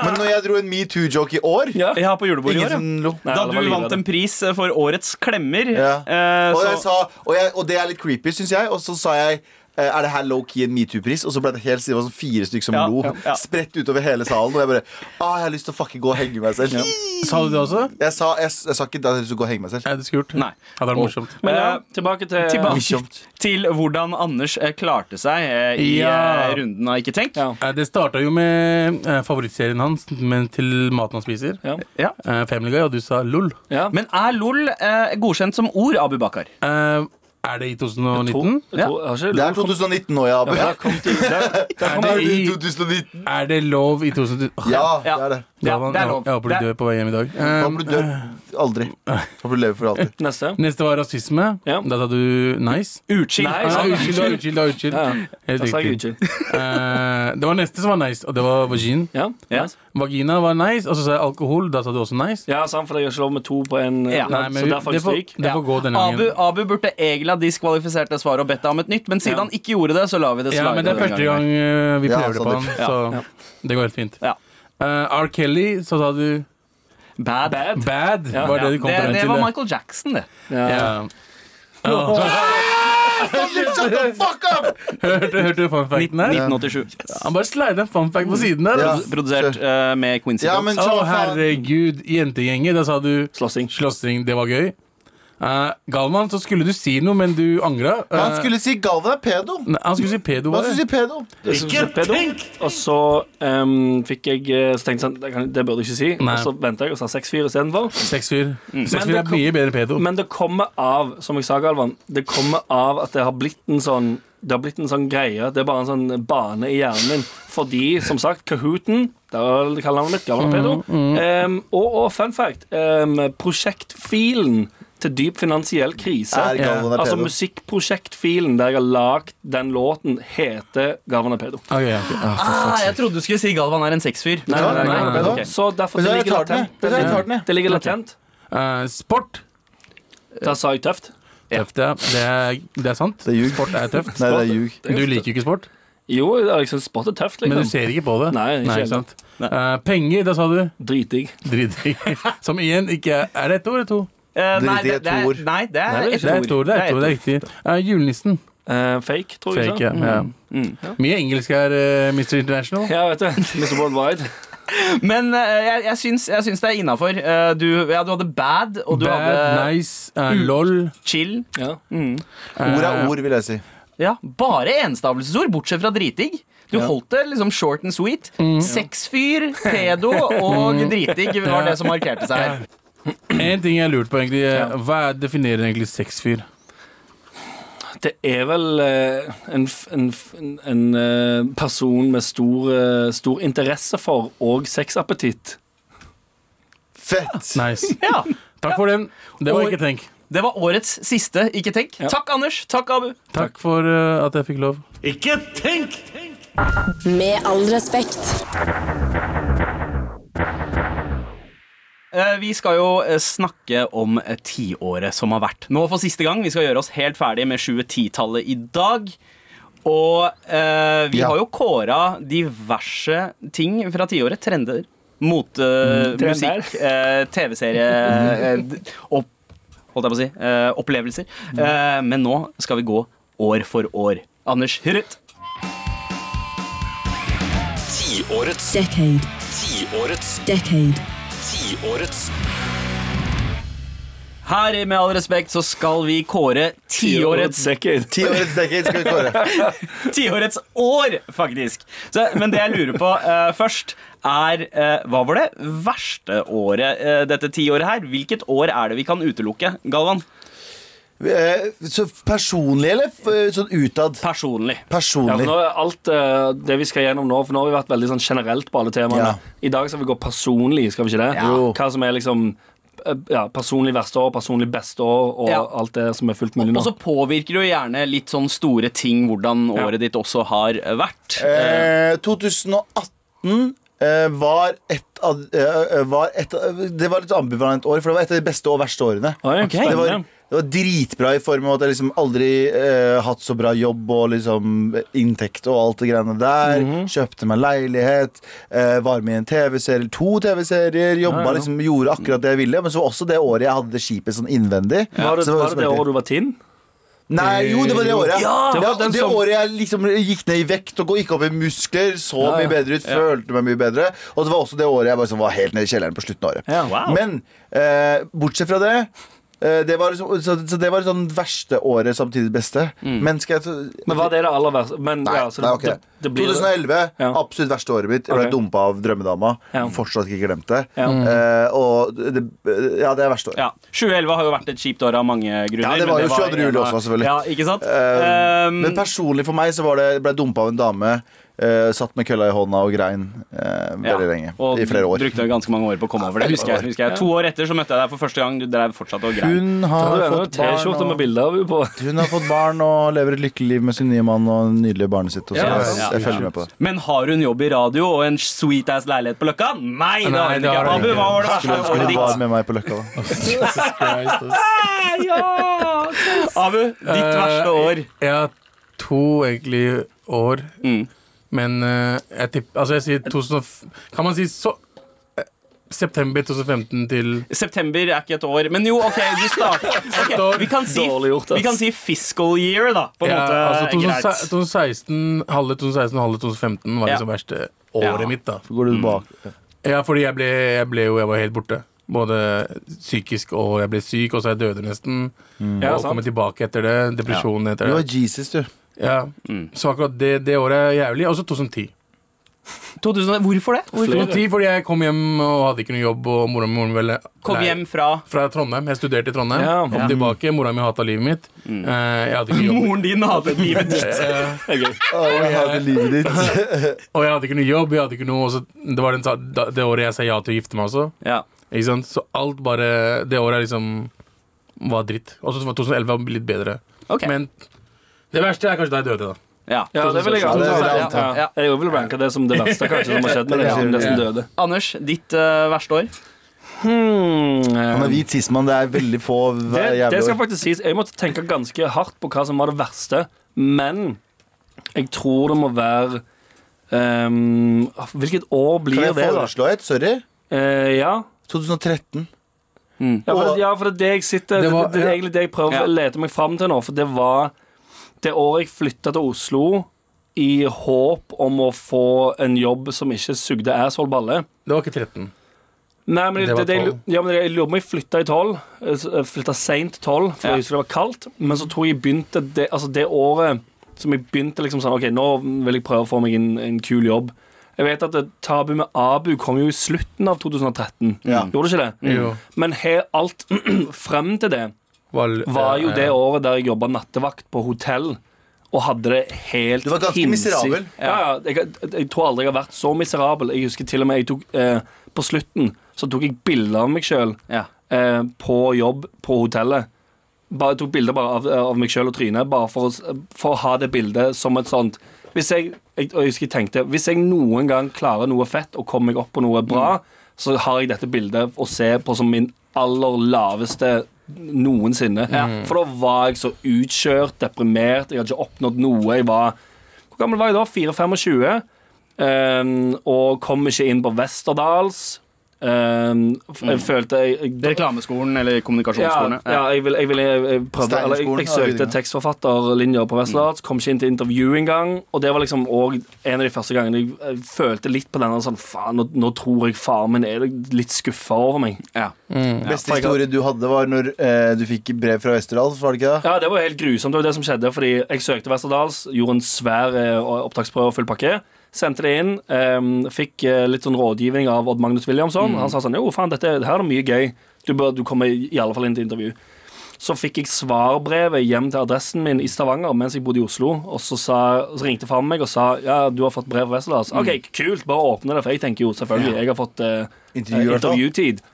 Speaker 6: Men når jeg dro en metoo-joke i år
Speaker 5: Ja.
Speaker 3: Ja, på julebordet i
Speaker 6: Ingen
Speaker 3: år. ja.
Speaker 6: som lo.
Speaker 3: Da
Speaker 5: Nei, alle
Speaker 3: du
Speaker 5: var
Speaker 3: vant
Speaker 5: livredde.
Speaker 3: en pris eh, for Årets klemmer,
Speaker 6: Ja.
Speaker 3: eh,
Speaker 6: og, jeg
Speaker 3: så
Speaker 6: sa, og, jeg, og det er litt creepy, syns jeg. Og så sa jeg eh, er det her low-key en metoo-pris? Og så ble det helt det var sånn fire stykker som
Speaker 3: Ja,
Speaker 6: lo.
Speaker 3: ja, ja.
Speaker 6: Spredt utover hele salen. Og jeg bare ah, Jeg har lyst til å fucking gå og henge meg selv.
Speaker 2: Sa du det også?
Speaker 6: Jeg, sa, jeg, jeg sa ikke at jeg hadde lyst til å gå og henge meg selv.
Speaker 2: Nei, det skulle gjort.
Speaker 3: Nei.
Speaker 2: Ja, det var morsomt.
Speaker 5: Men ja,
Speaker 3: Eh,
Speaker 5: tilbake til
Speaker 3: tilbake.
Speaker 6: Morsomt.
Speaker 3: til hvordan Anders eh, klarte seg eh, i
Speaker 2: Ja.
Speaker 3: eh, runden av Ikke tenk.
Speaker 5: Ja.
Speaker 2: Eh, Det starta jo med eh, favorittserien hans, men til maten han spiser.
Speaker 5: Ja.
Speaker 3: Ja.
Speaker 2: Eh, Family Guy, og du sa LOL.
Speaker 5: Ja.
Speaker 3: Men er LOL eh, godkjent som ord, Abu Bakar?
Speaker 2: Eh, er det i 2019?
Speaker 5: Jeg tror- har ikke
Speaker 6: Det er
Speaker 5: lov-
Speaker 6: 2019 nå, ja. Abu.
Speaker 5: Ja, kom til- der- der
Speaker 2: Er
Speaker 5: kom-
Speaker 2: det,
Speaker 6: Det er
Speaker 2: i,
Speaker 6: 2019.
Speaker 2: er det lov i 2019?
Speaker 6: Ja, det
Speaker 3: Ja.
Speaker 6: er det.
Speaker 3: Ja,
Speaker 2: Galvan,
Speaker 3: det er
Speaker 2: jeg-
Speaker 3: lov.
Speaker 2: Jeg håper
Speaker 3: Det
Speaker 2: du
Speaker 3: er-
Speaker 2: dør på vei hjem i dag. Um,
Speaker 6: Håper du dør aldri. Håper du lever for alltid.
Speaker 5: Neste.
Speaker 2: Neste var rasisme.
Speaker 5: Ja.
Speaker 2: Da sa du nice.
Speaker 3: Utskill.
Speaker 5: Nei,
Speaker 2: Ah,
Speaker 5: sant.
Speaker 2: Unnskyld, da, unnskyld. da, unnskyld.
Speaker 5: Ja,
Speaker 2: Helt
Speaker 5: da sa jeg
Speaker 2: riktig.
Speaker 5: unnskyld.
Speaker 2: Eh, det var neste som var nice, og det var vagin.
Speaker 5: Ja,
Speaker 3: Ja.
Speaker 5: nice.
Speaker 2: Vagina var nice, og så sa jeg alkohol. Da sa du også nice.
Speaker 5: ja sant, for jeg har ikke lov med to på en
Speaker 3: Ja.
Speaker 5: Nei, Så
Speaker 2: vi-
Speaker 5: der får
Speaker 2: det
Speaker 5: jeg
Speaker 2: får,
Speaker 5: stryk.
Speaker 2: det får gå denne
Speaker 3: Abu,
Speaker 2: gangen.
Speaker 3: Abu burde egentlig ha diskvalifisert det svaret og bedt deg om et nytt, men siden
Speaker 5: Ja.
Speaker 3: han ikke gjorde det, så la vi det slide.
Speaker 2: Ja, men det er
Speaker 3: denne
Speaker 2: første
Speaker 3: gangen
Speaker 2: gang eh, vi
Speaker 6: Ja,
Speaker 2: prøver det
Speaker 6: sa
Speaker 2: på
Speaker 6: du.
Speaker 2: han,
Speaker 3: Ja.
Speaker 2: så det går helt fint.
Speaker 3: Ja.
Speaker 2: Eh, R. Kelly, så sa du
Speaker 3: her. Bad.
Speaker 2: bad. var
Speaker 3: Ja,
Speaker 2: det du kom
Speaker 3: det,
Speaker 2: frem
Speaker 3: det
Speaker 2: til?
Speaker 3: var
Speaker 2: det.
Speaker 3: Michael Jackson, det.
Speaker 2: Ja.
Speaker 6: Shut the fuck up!
Speaker 2: Hørte, hørte du fun facten der?
Speaker 3: 1987.
Speaker 2: Han bare slider en fun fact på siden der.
Speaker 6: Ja.
Speaker 2: altså.
Speaker 3: Produsert eh, med Quincy
Speaker 6: Ja,
Speaker 3: Jones.
Speaker 6: men
Speaker 2: Å,
Speaker 6: så faen.
Speaker 2: herregud. Jentegjengen, da sa du
Speaker 5: Slåssing.
Speaker 2: slåssing. Det var gøy. Eh, Galvan, så skulle du si noe, men du angra. Eh,
Speaker 6: Han skulle si Galvan er pedo.
Speaker 2: Nei, han skulle si pedo.
Speaker 6: Han
Speaker 2: Var
Speaker 6: skulle
Speaker 2: det?
Speaker 6: si pedo.
Speaker 1: Ikke tenk!
Speaker 5: Og så ehm, fikk jeg eh, så tenkte jeg sånn, det, kan, det burde jeg ikke si.
Speaker 2: Nei.
Speaker 5: Og så venta jeg og sa 6-4 istedenfor.
Speaker 2: Sexfyr.
Speaker 3: Mm.
Speaker 2: Sexfyr
Speaker 5: Men
Speaker 2: er
Speaker 5: det
Speaker 2: mye bedre enn pedo.
Speaker 5: Men det kommer av, som jeg sa, Galvan, det kommer av at det har blitt en sånn det har blitt en sånn greie. Det er bare en sånn bane i hjernen min. Fordi, som sagt, Kahooten Der er det kallenavnet mitt. Galvan Pedo. Ehm, og, og fun fact ehm, Prosjektfilen til dyp finansiell krise.
Speaker 6: Er Galvan er
Speaker 5: Altså
Speaker 6: pedo.
Speaker 5: musikkprosjektfilen der jeg har lagd den låten, heter Galvan er pedo.
Speaker 2: Ok, ok.
Speaker 3: Ah, jeg trodde du skulle si Galvan er en sexfyr.
Speaker 5: Nei, nei,
Speaker 2: nei,
Speaker 5: nei, nei,
Speaker 6: nei.
Speaker 5: ok. Så derfor det
Speaker 6: Vet du hva, jeg
Speaker 5: ligger
Speaker 6: tar den,
Speaker 5: latent.
Speaker 6: jeg. Vet du hva, jeg tar den, jeg.
Speaker 5: Det ligger latent.
Speaker 2: Eh, sport.
Speaker 5: Da sa jeg tøft.
Speaker 2: Tøft, ja. Det er, det er sant.
Speaker 6: Det er ljug.
Speaker 2: Sport er tøft.
Speaker 6: Nei, det er ljug.
Speaker 2: Du liker jo ikke sport,
Speaker 5: Jo, jeg liksom spot er tøft,
Speaker 2: men du
Speaker 5: liksom.
Speaker 2: ser ikke på det.
Speaker 5: Nei, ikke heller.
Speaker 2: sant? Eh, penger, da sa du
Speaker 5: Dritdigg.
Speaker 2: dritdigg. Som igjen ikke er Er det ett ord eller to?
Speaker 3: Eh, nei,
Speaker 6: Drit i
Speaker 3: det,
Speaker 6: et
Speaker 3: det er,
Speaker 6: ord.
Speaker 3: nei, det
Speaker 2: Nei,
Speaker 3: er
Speaker 2: det
Speaker 3: ett
Speaker 2: er ett ord. Det er ett ord, det er
Speaker 3: ett
Speaker 2: riktig. Eh, julenissen.
Speaker 5: Eh, fake, tror jeg.
Speaker 2: Fake, ja.
Speaker 5: ikke sant?
Speaker 2: ja.
Speaker 3: Mm.
Speaker 2: Mye engelsk her, eh, Mr. International.
Speaker 5: Ja, vet du. Mr. Worldwide.
Speaker 3: ord. Men eh, jeg, jeg, syns, jeg syns det er innafor. Eh, du, ja, du hadde bad, og du
Speaker 2: Bad,
Speaker 3: hadde
Speaker 2: nice, eh, lol.
Speaker 3: chill.
Speaker 5: Ja. Eh,
Speaker 6: Ord er ord, vil jeg si.
Speaker 3: Ja, Bare enstavelsesord, bortsett fra dritdigg. Du holdt det liksom short and sweet.
Speaker 2: Mm.
Speaker 3: Sexfyr, pedo og dritdigg var det som markerte seg her.
Speaker 2: En ting jeg har lurt på, egentlig. eh, Hva er- definerer egentlig sexfyr?
Speaker 5: Det er vel eh, en, f- en, f- en, en eh, person med stor, eh, stor interesse for og sexappetitt.
Speaker 6: Fett!
Speaker 2: Nice.
Speaker 3: Ja,
Speaker 2: Takk for den. Det var
Speaker 3: Og-
Speaker 2: ikke tenk.
Speaker 3: Det var årets siste Ikke tenk.
Speaker 5: Ja.
Speaker 3: Takk, Anders. Takk, Abu.
Speaker 2: Takk for eh, at jeg fikk lov.
Speaker 1: Ikke tenk!
Speaker 4: Med all respekt.
Speaker 3: Eh, Vi skal jo eh, snakke om eh, tiåret som har vært. Nå for siste gang. Vi skal gjøre oss helt ferdig med 2010-tallet i dag. Og eh, vi
Speaker 6: Ja.
Speaker 3: har jo kåra diverse ting fra tiåret. Trender, mote, musikk, eh, TV-serie eh, d- opp, Holdt jeg på å si. eh, opplevelser. Eh, men nå skal vi gå år for år. Anders Hurret.
Speaker 7: Tiårets
Speaker 4: Decade.
Speaker 7: Tiårets
Speaker 4: Decade.
Speaker 7: Tiårets
Speaker 3: Her i Med all respekt så skal vi kåre tiårets
Speaker 5: decade.
Speaker 6: Ti årets decade skal vi kåre.
Speaker 3: Tiårets år, faktisk. Så, men det jeg lurer på eh, først, er eh, hva var det verste året eh, dette tiåret her? Hvilket år er det vi kan utelukke, Galvan?
Speaker 6: Eh, Så personlig, eller f- sånn utad?
Speaker 3: Personlig.
Speaker 5: Ja, for
Speaker 6: Personlig.
Speaker 5: nå er alt eh, det vi skal gjennom nå, for nå har vi vært veldig sånn generelt på alle temaene.
Speaker 6: Ja.
Speaker 5: I dag skal vi gå personlig, skal vi ikke det?
Speaker 6: Jo.
Speaker 5: Hva som er liksom eh, ja, personlig verste år, personlig beste år, og
Speaker 3: Ja.
Speaker 5: alt det som er fullt mulig
Speaker 3: Og
Speaker 5: nå.
Speaker 3: så påvirker det jo gjerne litt sånn store ting hvordan
Speaker 5: Ja.
Speaker 3: året ditt også har vært.
Speaker 6: Eh, 2018 eh, var et av eh, var et, av- Det var litt ambivalent år, for det var et av de beste og verste årene.
Speaker 5: Oi,
Speaker 6: Det var,
Speaker 5: spennende.
Speaker 6: det var dritbra i form av at jeg liksom aldri eh, hatt så bra jobb og liksom inntekt og alt det greiene der.
Speaker 5: Mhm.
Speaker 6: Kjøpte meg leilighet, eh, var med i en TV-serie, to TV-serier, jobba liksom, gjorde akkurat det jeg ville. Men så var også det året jeg hadde det skipet sånn innvendig.
Speaker 5: Var det,
Speaker 6: Så
Speaker 5: var det det
Speaker 6: veldig-
Speaker 5: året du var tinn?
Speaker 6: Nei, jo, det var det året.
Speaker 5: Ja, det
Speaker 6: det
Speaker 5: var den
Speaker 6: det
Speaker 5: som-
Speaker 6: året jeg liksom gikk ned i vekt og gikk opp i muskler, så
Speaker 5: Ja, ja.
Speaker 6: mye bedre ut, følte meg mye bedre. Og det var også det året jeg bare sånn var helt nede i kjelleren på slutten av året.
Speaker 5: Ja.
Speaker 3: Wow.
Speaker 6: Men eh, bortsett fra det eh, det var liksom, så, så det var sånn verste året, samtidig beste. Men skal jeg ta-
Speaker 5: Mm. Men var det det aller verste? Men,
Speaker 6: Nei,
Speaker 5: ja, så
Speaker 6: nei, ok.
Speaker 5: det, det, det blir
Speaker 6: 2011,
Speaker 5: Ja.
Speaker 6: absolutt verste året mitt. Jeg ble
Speaker 5: Ok.
Speaker 6: dumpa av drømmedama.
Speaker 5: Ja.
Speaker 6: Fortsatt ikke glemt det.
Speaker 5: Ja.
Speaker 6: Eh, og det, ja, det er verste året.
Speaker 3: Ja, 2011 har jo vært et kjipt år av mange grunner.
Speaker 6: Ja, det
Speaker 3: men
Speaker 6: var jo 22.
Speaker 3: en
Speaker 6: juli
Speaker 3: av-
Speaker 6: også, selvfølgelig.
Speaker 3: Ja, ikke sant?
Speaker 6: Eh,
Speaker 3: Um,
Speaker 6: men personlig for meg så var det, ble jeg dumpa av en dame. eh, satt med kølla i hånda og grein eh, veldig lenge.
Speaker 3: Og
Speaker 6: I flere år.
Speaker 3: brukte ganske mange år på å komme over det. Husker jeg, husker jeg. To år etter så møtte jeg deg for første gang. Du drev fortsatt og grein.
Speaker 6: Hun har,
Speaker 5: hadde
Speaker 6: fått barn
Speaker 5: T-skjorte med
Speaker 6: og,
Speaker 5: bilde av henne på.
Speaker 6: hun har fått barn og lever et lykkelig liv med sin nye mann og nydelige barnet sitt. Og så
Speaker 2: Ja,
Speaker 6: jeg,
Speaker 3: ja,
Speaker 6: jeg følger med på det.
Speaker 3: Men har hun jobb i radio og en sweet ass leilighet på Løkka? Nei, det har
Speaker 2: Nei,
Speaker 3: hun
Speaker 2: det
Speaker 3: ikke.
Speaker 2: har hun
Speaker 3: Abu,
Speaker 2: ikke.
Speaker 3: hva var det
Speaker 6: Skulle
Speaker 3: verste
Speaker 6: ønske
Speaker 3: året
Speaker 6: hun var
Speaker 3: ditt?
Speaker 6: med meg på Løkka, da.
Speaker 2: Jesus Christ, ass.
Speaker 3: Abu, ditt verste år.
Speaker 2: Jeg har to egentlig år,
Speaker 3: Mm.
Speaker 2: men eh, jeg tipper Altså, jeg sier 2000, Kan man si så eh, September 2015 til
Speaker 3: September er ikke et år, men jo, OK, du starter Ok, vi, kan si,
Speaker 5: Dårlig gjort, ass.
Speaker 3: vi kan si fiscal year, da. På en
Speaker 2: ja,
Speaker 3: måte.
Speaker 2: altså,
Speaker 3: Greit.
Speaker 2: 2016, 2016, halve 2016 halve 2015 var
Speaker 3: Ja.
Speaker 2: liksom verste året
Speaker 3: Ja.
Speaker 2: mitt, da.
Speaker 6: Så går du bak.
Speaker 2: Ja, fordi jeg ble, jeg ble jo Jeg var helt borte. Både psykisk og jeg ble syk, og så jeg døde nesten.
Speaker 3: Mm.
Speaker 5: Ja,
Speaker 2: og
Speaker 5: sant.
Speaker 2: komme tilbake etter det. Depresjon etter
Speaker 6: Du var
Speaker 2: det.
Speaker 6: Jesus, du.
Speaker 2: Ja.
Speaker 3: Mm.
Speaker 2: Så akkurat det, det året er jævlig. Og så 2010.
Speaker 3: 2000, hvorfor det? Hvorfor?
Speaker 2: 2010 fordi jeg kom hjem og hadde ikke noe jobb, og mora mi var vel
Speaker 3: Kom
Speaker 2: lei-
Speaker 3: hjem fra
Speaker 2: Fra Trondheim. Jeg studerte i Trondheim.
Speaker 5: Ja.
Speaker 2: Kom tilbake. Mora mi hata livet mitt. Eh, jeg hadde ikke jobb.
Speaker 3: Mm. Moren din hadde livet ditt.
Speaker 2: Eh,
Speaker 6: Å, jeg hadde livet ditt.
Speaker 2: og jeg hadde ikke noe jobb. Jeg hadde ikke noe, og så, det var den, sa- da- det året jeg sa ja til å gifte meg også.
Speaker 3: Ja.
Speaker 2: Ikke sant? Så alt bare Det året liksom var dritt. Og så var 2011 var litt bedre.
Speaker 3: Ok.
Speaker 2: Men det verste er kanskje da jeg døde, da.
Speaker 3: Ja.
Speaker 5: Ja, det vil jeg
Speaker 6: Ja, det vil
Speaker 5: anta.
Speaker 6: jeg anta.
Speaker 5: Ja, ja. Jeg vil ranke det som det verste kanskje som har skjedd med deg. som nesten døde.
Speaker 3: Anders, ditt eh, verste år?
Speaker 6: Han er hvit sismann. Det er veldig få
Speaker 5: Det,
Speaker 6: hver
Speaker 5: det skal
Speaker 6: jævlig år.
Speaker 5: faktisk sies. Jeg måtte tenke ganske hardt på hva som var det verste, men jeg tror det må være ehm, Hvilket år
Speaker 6: Kan
Speaker 5: blir
Speaker 6: jeg
Speaker 5: det, da?
Speaker 6: foreslå et? Sorry.
Speaker 5: Eh, ja.
Speaker 6: 2013.
Speaker 5: Ja, for, ja, for det er det jeg sitter
Speaker 2: Det
Speaker 5: Det,
Speaker 2: var-
Speaker 5: det, er
Speaker 2: ja.
Speaker 5: egentlig det jeg prøver
Speaker 3: Ja.
Speaker 5: å lete meg fram til nå, for det var det året jeg flytta til Oslo i håp om å få en jobb som ikke sugde asshole balle.
Speaker 2: Det var ikke 13.
Speaker 5: Nei, men
Speaker 2: Det
Speaker 5: det,
Speaker 2: var
Speaker 5: det, jeg lu-
Speaker 2: tolv.
Speaker 5: ja, men jeg lurer på om jeg flytta i tolv. eh, s- eh, Flytta seint tolv, for
Speaker 3: Ja.
Speaker 5: jeg husker det var kaldt. Men så tror jeg jeg begynte det, altså det året som jeg begynte liksom sånn OK, nå vil jeg prøve å få meg en, en kul jobb. Jeg vet at eh, Tabu med Abu kom jo i slutten av 2013.
Speaker 6: Ja.
Speaker 5: Gjorde det ikke det?
Speaker 2: Jo.
Speaker 5: Men he, alt frem til det
Speaker 2: Var,
Speaker 5: var jo
Speaker 2: eh,
Speaker 5: det året der jeg jobba nattevakt på hotell. Og hadde det helt
Speaker 6: Du var ganske
Speaker 5: hinsides-
Speaker 6: miserabel.
Speaker 5: Ja, ja jeg, jeg tror aldri jeg har vært så miserabel. Jeg husker til og med jeg tok, eh, På slutten så tok jeg bilder av meg sjøl
Speaker 3: Ja.
Speaker 5: eh, på jobb på hotellet. Bare, jeg tok bilder bare av, av meg sjøl og trynet, bare for, å s- for å ha det bildet som et sånt Hvis jeg, jeg, og jeg husker jeg tenkte Hvis jeg noen gang klarer noe fett og kommer meg opp på noe bra, så har jeg dette bildet å se på som min aller laveste noensinne. For da var jeg så utkjørt, deprimert, jeg hadde ikke oppnådd noe. Jeg var Hvor gammel var jeg da? 4-25. ehm, og kom ikke inn på Westerdals. Ehm, f- jeg følte jeg, jeg
Speaker 3: Reklameskolen eller
Speaker 5: ja,
Speaker 3: kommunikasjonsskolen?
Speaker 5: ja, jeg vil, jeg, vil, jeg, jeg prøvde eller, jeg, jeg
Speaker 6: Steinerskolen,
Speaker 5: søkte
Speaker 6: ja.
Speaker 5: tekstforfatterlinja på Vestlands, kom ikke inn til intervju engang. Og det var liksom også en av de første gangene jeg, jeg følte litt på denne sånn Faen, nå, nå tror jeg faren min er litt skuffa over meg.
Speaker 3: Ja.
Speaker 6: Beste historie du hadde, var når eh, du fikk brev fra Westerdals, var det ikke det?
Speaker 5: Ja, det var jo helt grusomt. Det var jo det som skjedde, fordi jeg søkte Westerdals, gjorde en svær eh, opptaksprøve og full pakke. Sendte det inn. em, fikk eh, litt sånn rådgivning av Odd Magnus Williamson. Han sa sånn Jo, faen, dette her er det mye gøy. Du, bør, du kommer i alle fall inn til intervju. Så fikk jeg svarbrevet hjem til adressen min i Stavanger mens jeg bodde i Oslo. Og så, sa, så ringte faren meg og sa ja, du har fått brev fra Westerdals.
Speaker 6: Mm.
Speaker 5: OK, kult, bare åpne det, for jeg tenker jo selvfølgelig jeg har fått eh,
Speaker 6: Intervju, i hvert fall. Ah.
Speaker 5: intervjutid.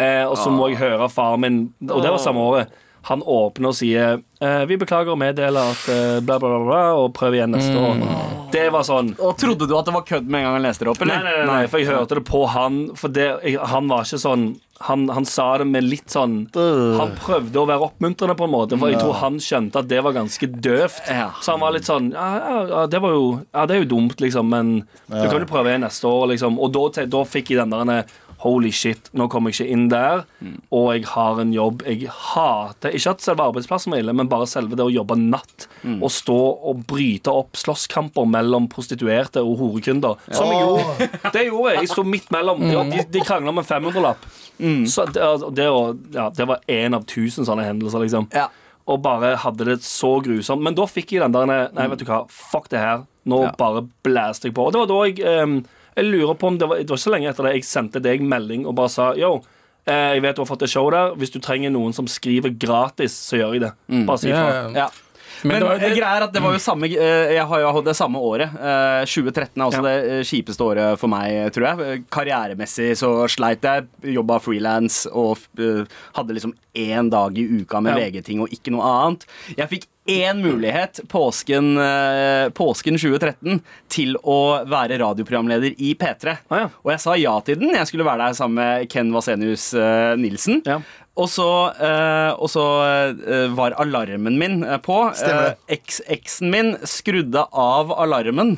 Speaker 5: Eh, og så må jeg høre faren min, og det var samme året. Han åpner og sier eh, Vi beklager og meddeler at eh, bla, bla, bla, bla, og prøv igjen neste
Speaker 6: Mm.
Speaker 5: år. Det var sånn.
Speaker 3: Og trodde du at det var kødd med en gang han leste det opp?
Speaker 5: Nei,
Speaker 3: eller?
Speaker 5: nei, nei, nei, for jeg hørte det på han. For det, jeg, han var ikke sånn han, han sa det med litt sånn Han prøvde å være oppmuntrende, på en måte. For jeg tror han skjønte at det var ganske døvt.
Speaker 3: Ja.
Speaker 5: Så han var litt sånn ja, ja, ja, det, var jo, ja, det er jo dumt, liksom, men du kan jo prøve igjen neste år, liksom. Og da, te- da fikk jeg den der Holy shit, nå kommer jeg ikke inn der, og jeg har en jobb jeg hater. Ikke at selve arbeidsplassen var ille, men bare selve det å jobbe natt. Og stå og bryte opp slåsskamper mellom prostituerte og horekunder. Som jeg gjorde. Det gjorde jeg. Jeg sto midt mellom. De, de, de krangla om en 500-lapp.
Speaker 3: Mm.
Speaker 5: Så det, altså, det, å- ja, det var én av tusen sånne hendelser, liksom.
Speaker 3: Ja.
Speaker 5: Og bare hadde det så grusomt. Men da fikk jeg den der Nei, vet du hva, fuck det her. Nå
Speaker 3: Ja.
Speaker 5: bare blæste jeg på. Og det var da jeg ehm, Jeg lurer på om det var, det var ikke så lenge etter det jeg sendte deg melding og bare sa yo. eh, Jeg vet du har fått et show der. Hvis du trenger noen som skriver gratis, så gjør jeg det. Bare si
Speaker 2: ja,
Speaker 5: ifra.
Speaker 2: ja.
Speaker 3: Mm. Ja.
Speaker 2: Eh, Men
Speaker 3: Men,
Speaker 2: det var-
Speaker 3: det greia er at det var jo samme eh, Jeg har jo hatt det samme året. Eh, 2013 er også det eh, kjipeste året for meg, tror jeg. Eh, Karrieremessig så sleit jeg. Jobba frilans og eh, hadde liksom én dag i uka med
Speaker 5: Ja.
Speaker 3: VG-ting og ikke noe annet. Jeg fikk én mulighet påsken, eh, påsken 2013 til å være radioprogramleder i P3.
Speaker 5: Ah, ja.
Speaker 3: Og jeg sa ja til den. Jeg skulle være der sammen med Ken Vasenius eh, Nilsen.
Speaker 5: Ja.
Speaker 3: Og så, eh, og så eh, var alarmen min eh, på.
Speaker 6: Stemmer
Speaker 3: Eh, eks- Eksen min skrudde av alarmen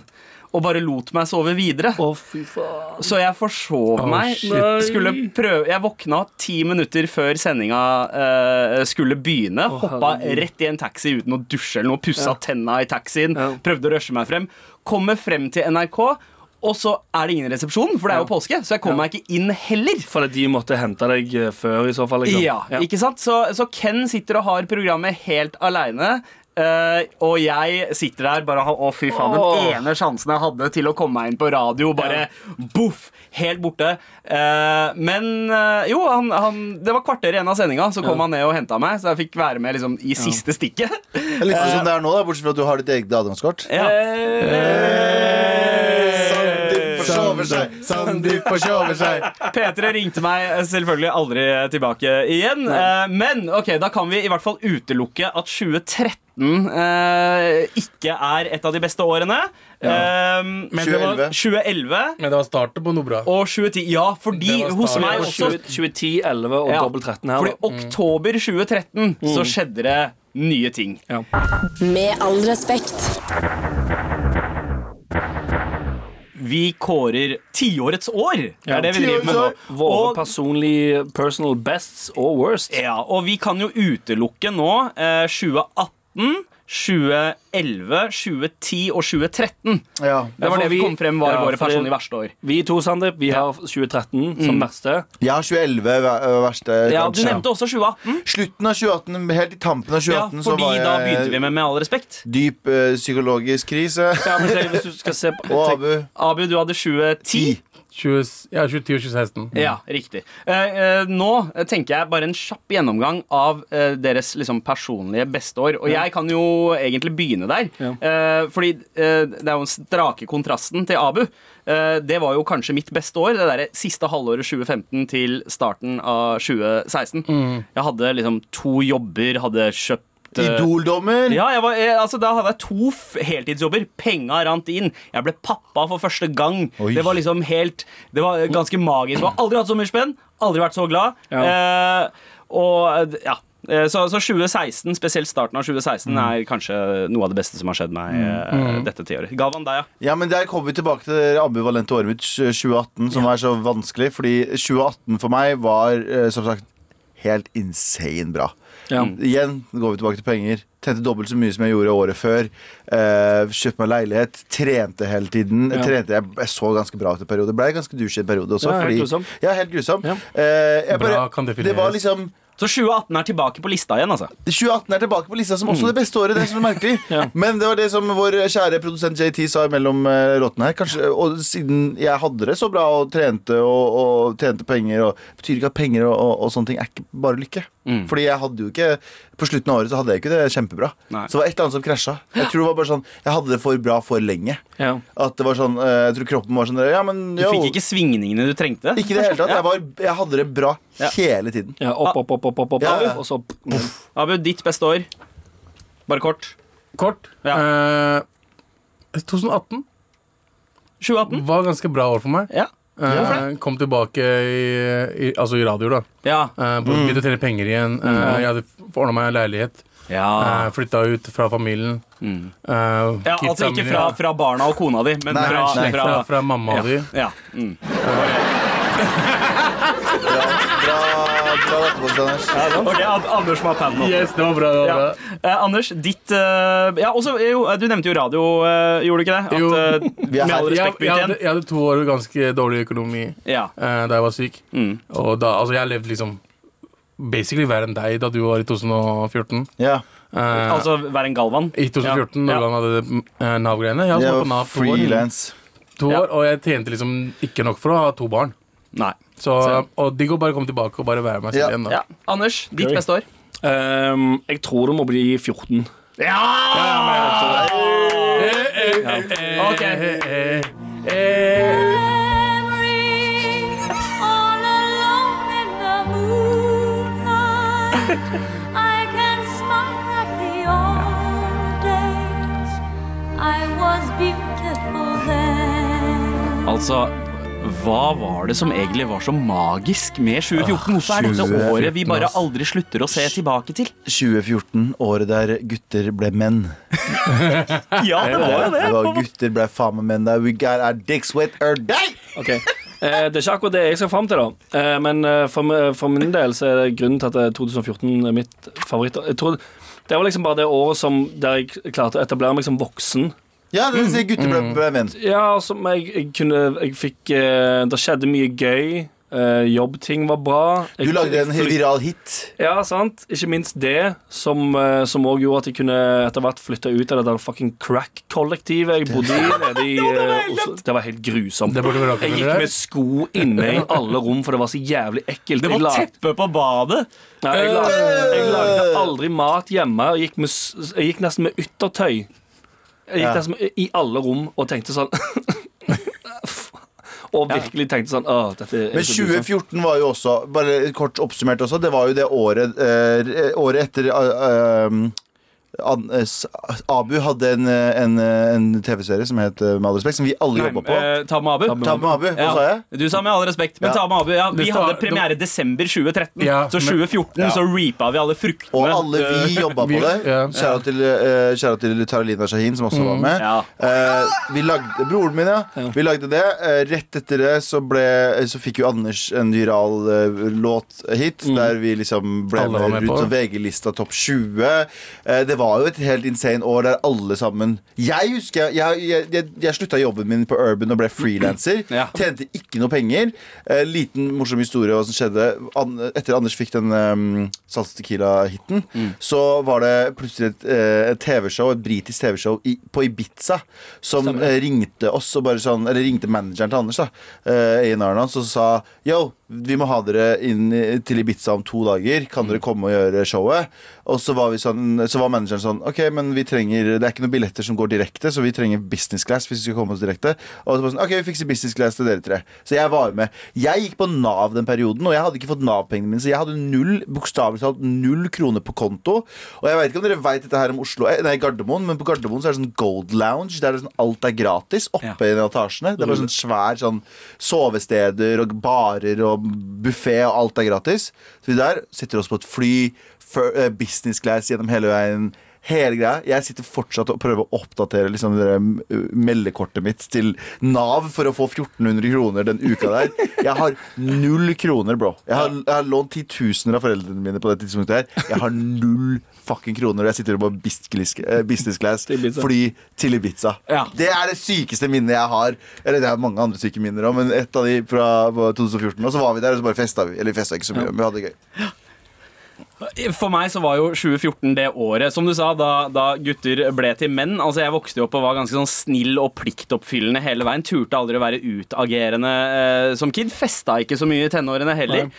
Speaker 3: og bare lot meg sove videre.
Speaker 5: Å, fy faen.
Speaker 3: Så jeg forsov
Speaker 2: Oh,
Speaker 3: meg.
Speaker 2: shit.
Speaker 3: Skulle prøve Jeg våkna ti minutter før sendinga eh, skulle begynne. hoppa
Speaker 5: herregud.
Speaker 3: rett i en taxi uten å dusje eller noe. Pussa tenna i taxien.
Speaker 5: Ja.
Speaker 3: Prøvde å rushe meg frem. Kommer frem til NRK, og så er det ingen resepsjon, for det er jo
Speaker 5: Ja.
Speaker 3: påske. Så jeg kom
Speaker 5: Ja.
Speaker 3: meg ikke inn heller.
Speaker 5: Fordi de måtte hente deg eh, før, i så fall. Liksom.
Speaker 3: Ja, ikke sant? Så, så Ken sitter og har programmet helt aleine. eh, og jeg sitter der bare har- Å, fy faen.
Speaker 5: Åh.
Speaker 3: Den ene sjansen jeg hadde til å komme meg inn på radio, bare boff! Helt borte. Eh, men eh, jo, han, han, det var kvarter igjen av sendinga, så kom han ned og henta meg. Så jeg fikk være med liksom, i siste stikket.
Speaker 6: Det er Litt
Speaker 3: Eh.
Speaker 6: sånn som det er nå, da, bortsett fra at du har ditt eget adgangskort. Eh, Sandeep forsover seg! Sandeep forsover seg!
Speaker 3: P3 ringte meg selvfølgelig aldri tilbake igjen. Eh, men ok, da kan vi i hvert fall utelukke at 2013 eh, ikke er et av de beste årene. Eh,
Speaker 2: Men det var,
Speaker 3: 2011
Speaker 6: 2011.
Speaker 2: men det var starten på noe bra.
Speaker 3: og 2010. Ja, fordi
Speaker 2: Det var
Speaker 3: hos
Speaker 2: starten.
Speaker 3: meg
Speaker 5: Og
Speaker 3: også
Speaker 5: 20- 2010, 11 og
Speaker 3: Ja,
Speaker 5: dobbelt 13 her.
Speaker 3: Fordi
Speaker 5: Da.
Speaker 3: oktober 2013 så skjedde det nye ting.
Speaker 4: Med all respekt.
Speaker 3: Vi kårer tiårets år. Det er det vi driver med nå.
Speaker 6: tiårets
Speaker 5: Våre
Speaker 3: Og-
Speaker 5: personlige personal bests og worst.
Speaker 3: Ja, og vi kan jo utelukke nå eh, 2018, 2011, 2010 og 2013.
Speaker 6: Ja.
Speaker 3: Det var det vi
Speaker 5: for vi-
Speaker 3: kom frem var
Speaker 5: Ja,
Speaker 3: våre
Speaker 5: for det-
Speaker 3: personlige verste år.
Speaker 5: Vi to, Sandeep, vi har 2013
Speaker 3: Mm.
Speaker 5: som verste.
Speaker 6: Jeg har 2011 ver- øh, verste,
Speaker 3: Ja, Du
Speaker 6: kanskje.
Speaker 3: nevnte også 2018.
Speaker 6: Slutten av 2018, helt i tampen av 2018,
Speaker 3: Ja,
Speaker 6: så
Speaker 3: fordi
Speaker 6: var jeg
Speaker 3: da begynte vi med Med all respekt.
Speaker 6: dyp øh, psykologisk krise.
Speaker 5: Ja, men tenk, hvis du skal se på,
Speaker 6: Og
Speaker 5: tenk,
Speaker 6: Abu
Speaker 3: Abu, du hadde 2010.
Speaker 2: 20, ja, 2010 og 2016.
Speaker 3: Ja, riktig. Eh, eh, nå eh, tenker jeg bare en kjapp gjennomgang av eh, deres liksom, personlige besteår. Og jeg kan jo egentlig begynne der. Eh, fordi eh, det er jo den strake kontrasten til Abu. Eh, det var jo kanskje mitt beste år. Det derre siste halvåret 2015 til starten av 2016. Jeg hadde liksom to jobber, hadde kjøpt eh,
Speaker 6: Idoldommer.
Speaker 3: ja, jeg var, jeg, altså, Da hadde jeg to f heltidsjobber. Penga rant inn. Jeg ble pappa for første gang.
Speaker 6: Oi.
Speaker 3: Det var liksom helt Det var ganske magisk. Jeg har aldri hatt så mye spenn. Aldri vært så glad. Eh, og ja Eh, så, så 2016, spesielt starten av 2016, er kanskje noe av det beste som har skjedd meg eh, dette tiåret. Galvan, deg, ja.
Speaker 6: Ja, men Der kommer vi tilbake til det ambivalente året mitt 2018, eh, som er så vanskelig. Fordi 2018 for meg var eh, som sagt helt insane bra.
Speaker 5: ja.
Speaker 2: Mm.
Speaker 6: Igjen går vi tilbake til penger. Tjente dobbelt så mye som jeg gjorde året før. Eh, kjøpte meg leilighet. Trente hele tiden.
Speaker 5: Ja.
Speaker 6: Trente, jeg, jeg så ganske bra ut en periode. Ble ganske douche en periode også.
Speaker 5: Ja, helt
Speaker 6: fordi-
Speaker 5: grusom.
Speaker 6: Ja, helt grusom.
Speaker 5: Ja.
Speaker 6: Eh, jeg
Speaker 2: Bra
Speaker 6: bare-
Speaker 2: kan
Speaker 6: det var
Speaker 2: defineres.
Speaker 6: liksom
Speaker 3: Så 2018 er tilbake på lista igjen, altså.
Speaker 6: 2018 er tilbake på lista som
Speaker 3: Mm.
Speaker 6: også det beste året. Det er så merkelig
Speaker 5: Ja.
Speaker 6: Men det var det som vår kjære produsent JT sa mellom eh, råtene her. Kanskje, og siden jeg hadde det så bra og trente og, og tjente penger og Betyr ikke at penger og, og, og sånne ting er ikke bare lykke.
Speaker 3: Mm.
Speaker 6: Fordi jeg hadde jo ikke På slutten av året så hadde jeg ikke det kjempebra.
Speaker 3: Nei.
Speaker 6: Så det var et eller annet som krasja. Jeg tror det var bare sånn Jeg hadde det for bra for lenge.
Speaker 5: Ja.
Speaker 6: At det var sånn eh, Jeg tror kroppen var sånn Ja, men
Speaker 3: Du
Speaker 6: yo.
Speaker 3: fikk ikke svingningene du trengte.
Speaker 6: Ikke i det hele tatt. Jeg, var, jeg hadde det bra
Speaker 3: Ja.
Speaker 6: hele tiden.
Speaker 5: ja, opp, opp, opp, opp, opp, opp,
Speaker 6: Ja, ja.
Speaker 5: og så poff.
Speaker 3: Abu, ditt beste år. Bare kort.
Speaker 2: Kort. Eh, 2018
Speaker 3: 2018.
Speaker 2: var ganske bra år for meg.
Speaker 3: Ja.
Speaker 2: Eh,
Speaker 3: Hvorfor
Speaker 2: kom tilbake i, i, altså i radio, da.
Speaker 3: Ja.
Speaker 2: Eh,
Speaker 3: Mm.
Speaker 2: Begynte å tjene penger igjen. Eh, jeg hadde ordna meg en leilighet.
Speaker 3: ja.
Speaker 2: Uh, Flytta ut fra familien. Eh,
Speaker 3: Ah. Mm. Ja,
Speaker 2: kidsa
Speaker 3: altså ikke
Speaker 2: mine-
Speaker 3: fra, fra barna og kona di, men
Speaker 6: Nei,
Speaker 3: fra,
Speaker 2: Nei,
Speaker 3: fra,
Speaker 2: fra, fra mamma di.
Speaker 3: ja. Mm.
Speaker 6: Bra, bra etterpå, Anders.
Speaker 3: Ok, Ad- Anders som har pannen opp.
Speaker 2: Yes, det var bra. Det var
Speaker 3: Ja.
Speaker 2: bra.
Speaker 3: Eh, Anders, ditt eh, Ja, også, jo, eh, Du nevnte jo radio, eh, gjorde du ikke det? At,
Speaker 2: Jo.
Speaker 3: eh,
Speaker 6: er
Speaker 3: med all
Speaker 6: her.
Speaker 2: Jeg,
Speaker 3: respekt,
Speaker 2: jeg,
Speaker 3: bytt
Speaker 2: hadde,
Speaker 3: igjen.
Speaker 2: jeg hadde to år med ganske dårlig økonomi
Speaker 3: Ja.
Speaker 2: eh, da jeg var syk.
Speaker 3: Mm.
Speaker 2: Og da, altså jeg levde liksom basically verre enn deg da du var i 2014.
Speaker 6: Ja.
Speaker 2: Eh,
Speaker 3: Altså være en Galvan?
Speaker 2: I 2014,
Speaker 3: Ja.
Speaker 2: når han hadde eh, Nav-greiene. Jeg hadde
Speaker 6: Jeg
Speaker 2: vært på
Speaker 6: var
Speaker 2: Nav to år,
Speaker 6: frilans.
Speaker 2: to
Speaker 3: Ja.
Speaker 2: år, og jeg tjente liksom ikke nok for å ha to barn.
Speaker 3: Nei.
Speaker 2: Så, og digg å bare komme tilbake og bare være meg selv
Speaker 6: Ja.
Speaker 2: igjen. da
Speaker 3: Ja. Anders, ditt
Speaker 5: Gøy.
Speaker 3: beste år?
Speaker 5: Ehm, jeg tror det må bli 14.
Speaker 3: Ok. Altså, hva var det som egentlig var så magisk med 2014? Hvorfor er dette
Speaker 6: 2014,
Speaker 3: året vi bare
Speaker 6: ass.
Speaker 3: aldri slutter å se tilbake til?
Speaker 6: 2014, året der gutter ble menn.
Speaker 3: Ja, det var jo det.
Speaker 6: Det var gutter ble faen meg menn der. We got our dicks wet or die!
Speaker 5: Ok. Eh, det er ikke akkurat det jeg skal fram til, da. Eh, men eh, for, m- for min del så er det grunnen til at eh, 2014 er mitt favoritt. Jeg tror det var liksom bare det året som der jeg klarte å etablere meg som voksen.
Speaker 6: Ja, det
Speaker 3: Mm.
Speaker 6: vil si gutter ble, ble menn.
Speaker 5: Ja, altså, men jeg, jeg kunne Jeg fikk eh, Det skjedde mye gøy. Eh, jobbting var bra.
Speaker 6: Du
Speaker 5: Jeg-
Speaker 6: lagde en
Speaker 5: jeg flytt-
Speaker 6: viral hit.
Speaker 5: Ja, sant. Ikke minst det som eh, som òg gjorde at jeg kunne etter hvert flytte ut av det der fucking crack-kollektivet jeg bodde i. Nede i eh, Oslo. Det var helt grusomt.
Speaker 2: Det burde være akkurat
Speaker 5: Jeg
Speaker 2: det der.
Speaker 5: gikk med sko inne i alle rom, for det var så jævlig ekkelt.
Speaker 3: Det
Speaker 5: Jeg
Speaker 3: var
Speaker 5: lag-
Speaker 3: teppe på badet.
Speaker 5: Nei, jeg, lagde, jeg lagde aldri mat hjemme. Jeg gikk, med, s- jeg gikk nesten med yttertøy. Jeg gikk
Speaker 6: Ja.
Speaker 5: nesten med, i alle rom og tenkte sånn Og virkelig tenkte sånn Åh, dette er
Speaker 6: Men
Speaker 5: så grusomt.
Speaker 6: 2014 var jo også, bare kort oppsummert også, det var jo det året eh, Året etter eh, um, an- eh, s- Abu hadde en, eh, en, eh, en TV-serie som het eh, Med all respekt, som vi alle jobba på.
Speaker 3: Eh, Ta med Abu.
Speaker 6: Ta med Abu, hva sa jeg?
Speaker 3: Ja, du sa med all respekt, men
Speaker 6: Ja.
Speaker 3: ta med Abu. Ja, vi
Speaker 2: Det står-
Speaker 3: hadde premiere desember 2013,
Speaker 2: Ja,
Speaker 3: så
Speaker 2: men-
Speaker 3: 2014
Speaker 6: Ja.
Speaker 3: så reapa vi alle fruktene.
Speaker 6: Og alle vi jobba på
Speaker 2: vi-
Speaker 6: det.
Speaker 2: ja.
Speaker 6: Kjære til, eh, kjære til Taralina Shahin, som også var med.
Speaker 3: Ja.
Speaker 6: Eh, vi lagde, broren min, ja. Vi lagde det. Eh, rett etter det så, ble, så fikk jo Anders en viral eh, låt hit, der vi liksom ble
Speaker 2: Alle var med
Speaker 6: med
Speaker 2: på det.
Speaker 6: rundt som VG-lista topp 20. Eh, det var jo et helt insane år der alle sammen Jeg husker jeg, jeg, jeg, jeg, jeg slutta jobben min på Urban og ble frilanser.
Speaker 3: Ja.
Speaker 6: Tjente ikke noe penger. Eh, liten morsom historie hva som skjedde. An etter Anders fikk den um, Sals Tequila-hiten,
Speaker 2: Mm.
Speaker 6: så var det plutselig et, eh, et TV-show, et britisk TV-show i, på Ibiza, som eh, ringte oss og bare sånn Eller ringte manageren til Anders, da, eh, A&R-en hans, og sa Yo, vi må ha dere inn i- til Ibiza om to dager. Kan dere komme og gjøre showet? Og så var, vi sånn, så var manageren sånn Ok, men vi trenger Det er ikke noen billetter som går direkte, så vi trenger business class hvis vi skal komme oss direkte. Og så bare sånn, ok, vi fikser business class til dere tre. Så jeg var med. Jeg gikk på Nav den perioden, og jeg hadde ikke fått Nav-pengene mine, så jeg hadde null, bokstavelig talt null kroner på konto. Og jeg vet ikke om dere vet dette her om Oslo eh, Nei, Gardermoen, men på Gardermoen så er det sånn Gold Lounge, der det er sånn, alt er gratis oppe i de etasjene. Det er bare sånn svær sånn sovesteder og barer og buffé, og alt er gratis. Så vi der sitter oss på et fly, fir- eh, business class gjennom hele veien. Hele greia. Jeg sitter fortsatt og prøver å oppdatere liksom, det der, uh, meldekortet mitt til Nav for å få 1400 kroner den uka der. Jeg har null kroner, bro. Jeg har, jeg har lånt titusener av foreldrene mine på det tidspunktet her. Jeg har null fucking kroner, og jeg sitter på business eh, business class
Speaker 5: Til Ibiza.
Speaker 6: fly til Ibiza.
Speaker 3: Ja.
Speaker 6: Det er det sykeste minnet jeg har. Eller det er mange andre syke minner òg, men et av de fra på 2014. Og så var vi der, og så bare festa vi. Eller festa ikke så mye, men vi hadde det gøy.
Speaker 3: Eh, For meg så var jo 2014 det året, som du sa, da, da gutter ble til menn. Altså Jeg vokste jo opp og var ganske sånn snill og pliktoppfyllende hele veien. Turte aldri å være utagerende eh, som kid. Festa ikke så mye i tenårene heller.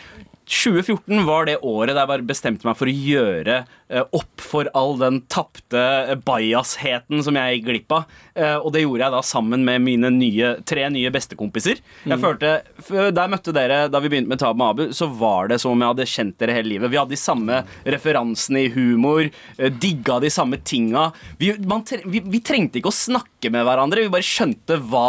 Speaker 3: 2014 var det året der jeg bare bestemte meg for å gjøre eh, opp for all den tapte eh, bajasheten som jeg gikk glipp av. Eh, og det gjorde jeg da sammen med mine nye, tre nye bestekompiser. Jeg
Speaker 2: Mm.
Speaker 3: følte, f- Der møtte dere da vi begynte med Tab med Abu, så var det som om jeg hadde kjent dere hele livet. Vi hadde de samme referansene i humor, eh, digga de samme tinga. Vi, man, tre- vi, vi trengte ikke å snakke med hverandre, vi bare skjønte hva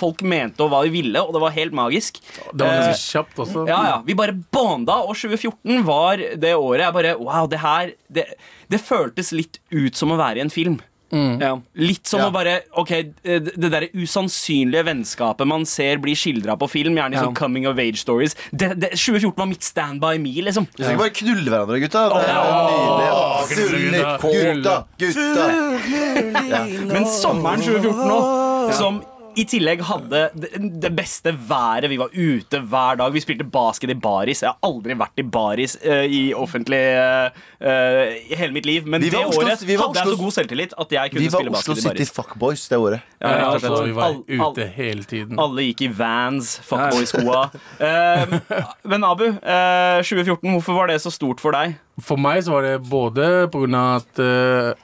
Speaker 3: folk mente og hva de ville, og det var helt magisk.
Speaker 2: Det var
Speaker 3: Eh,
Speaker 2: ganske kjapt også.
Speaker 3: ja, ja. Vi bare bonda, og 2014 var det året jeg bare Wow, det her Det, det føltes litt ut som å være i en film.
Speaker 5: ja.
Speaker 3: Litt som
Speaker 6: Ja.
Speaker 3: å bare Ok, det det derre usannsynlige vennskapet man ser bli skildra på film, gjerne i
Speaker 5: Ja.
Speaker 3: sånn Coming of Age Stories. Det, det, 2014 var mitt stand by me, liksom.
Speaker 6: Vi skal ikke bare knulle hverandre, gutta. Det er nydelig. Åh, Knulle, gutta, gutta.
Speaker 3: Men sommeren 2014 nå, som i tillegg hadde det det beste været. Vi var ute hver dag. Vi spilte basket i baris. Jeg har aldri vært i baris eh, i offentlig eh, eh, i hele mitt liv. Men
Speaker 6: Vi
Speaker 3: det
Speaker 6: var Oslos-
Speaker 3: året
Speaker 6: vi var
Speaker 3: hadde jeg
Speaker 6: Oslos-
Speaker 3: så god selvtillit at jeg
Speaker 6: Vi
Speaker 3: kunne
Speaker 6: var
Speaker 3: spille
Speaker 6: Oslo
Speaker 3: basket i
Speaker 6: City
Speaker 3: baris.
Speaker 6: fuckers det året.
Speaker 3: Ja,
Speaker 2: Ja,
Speaker 3: rett og
Speaker 2: altså,
Speaker 3: slett.
Speaker 2: vi var
Speaker 3: All- all-
Speaker 2: ute hele tiden.
Speaker 3: alle gikk i vans, fuckboy-skoa. Eh, men Abu, eh, 2014, hvorfor var det så stort for deg?
Speaker 2: For meg så var det både på grunn av at eh,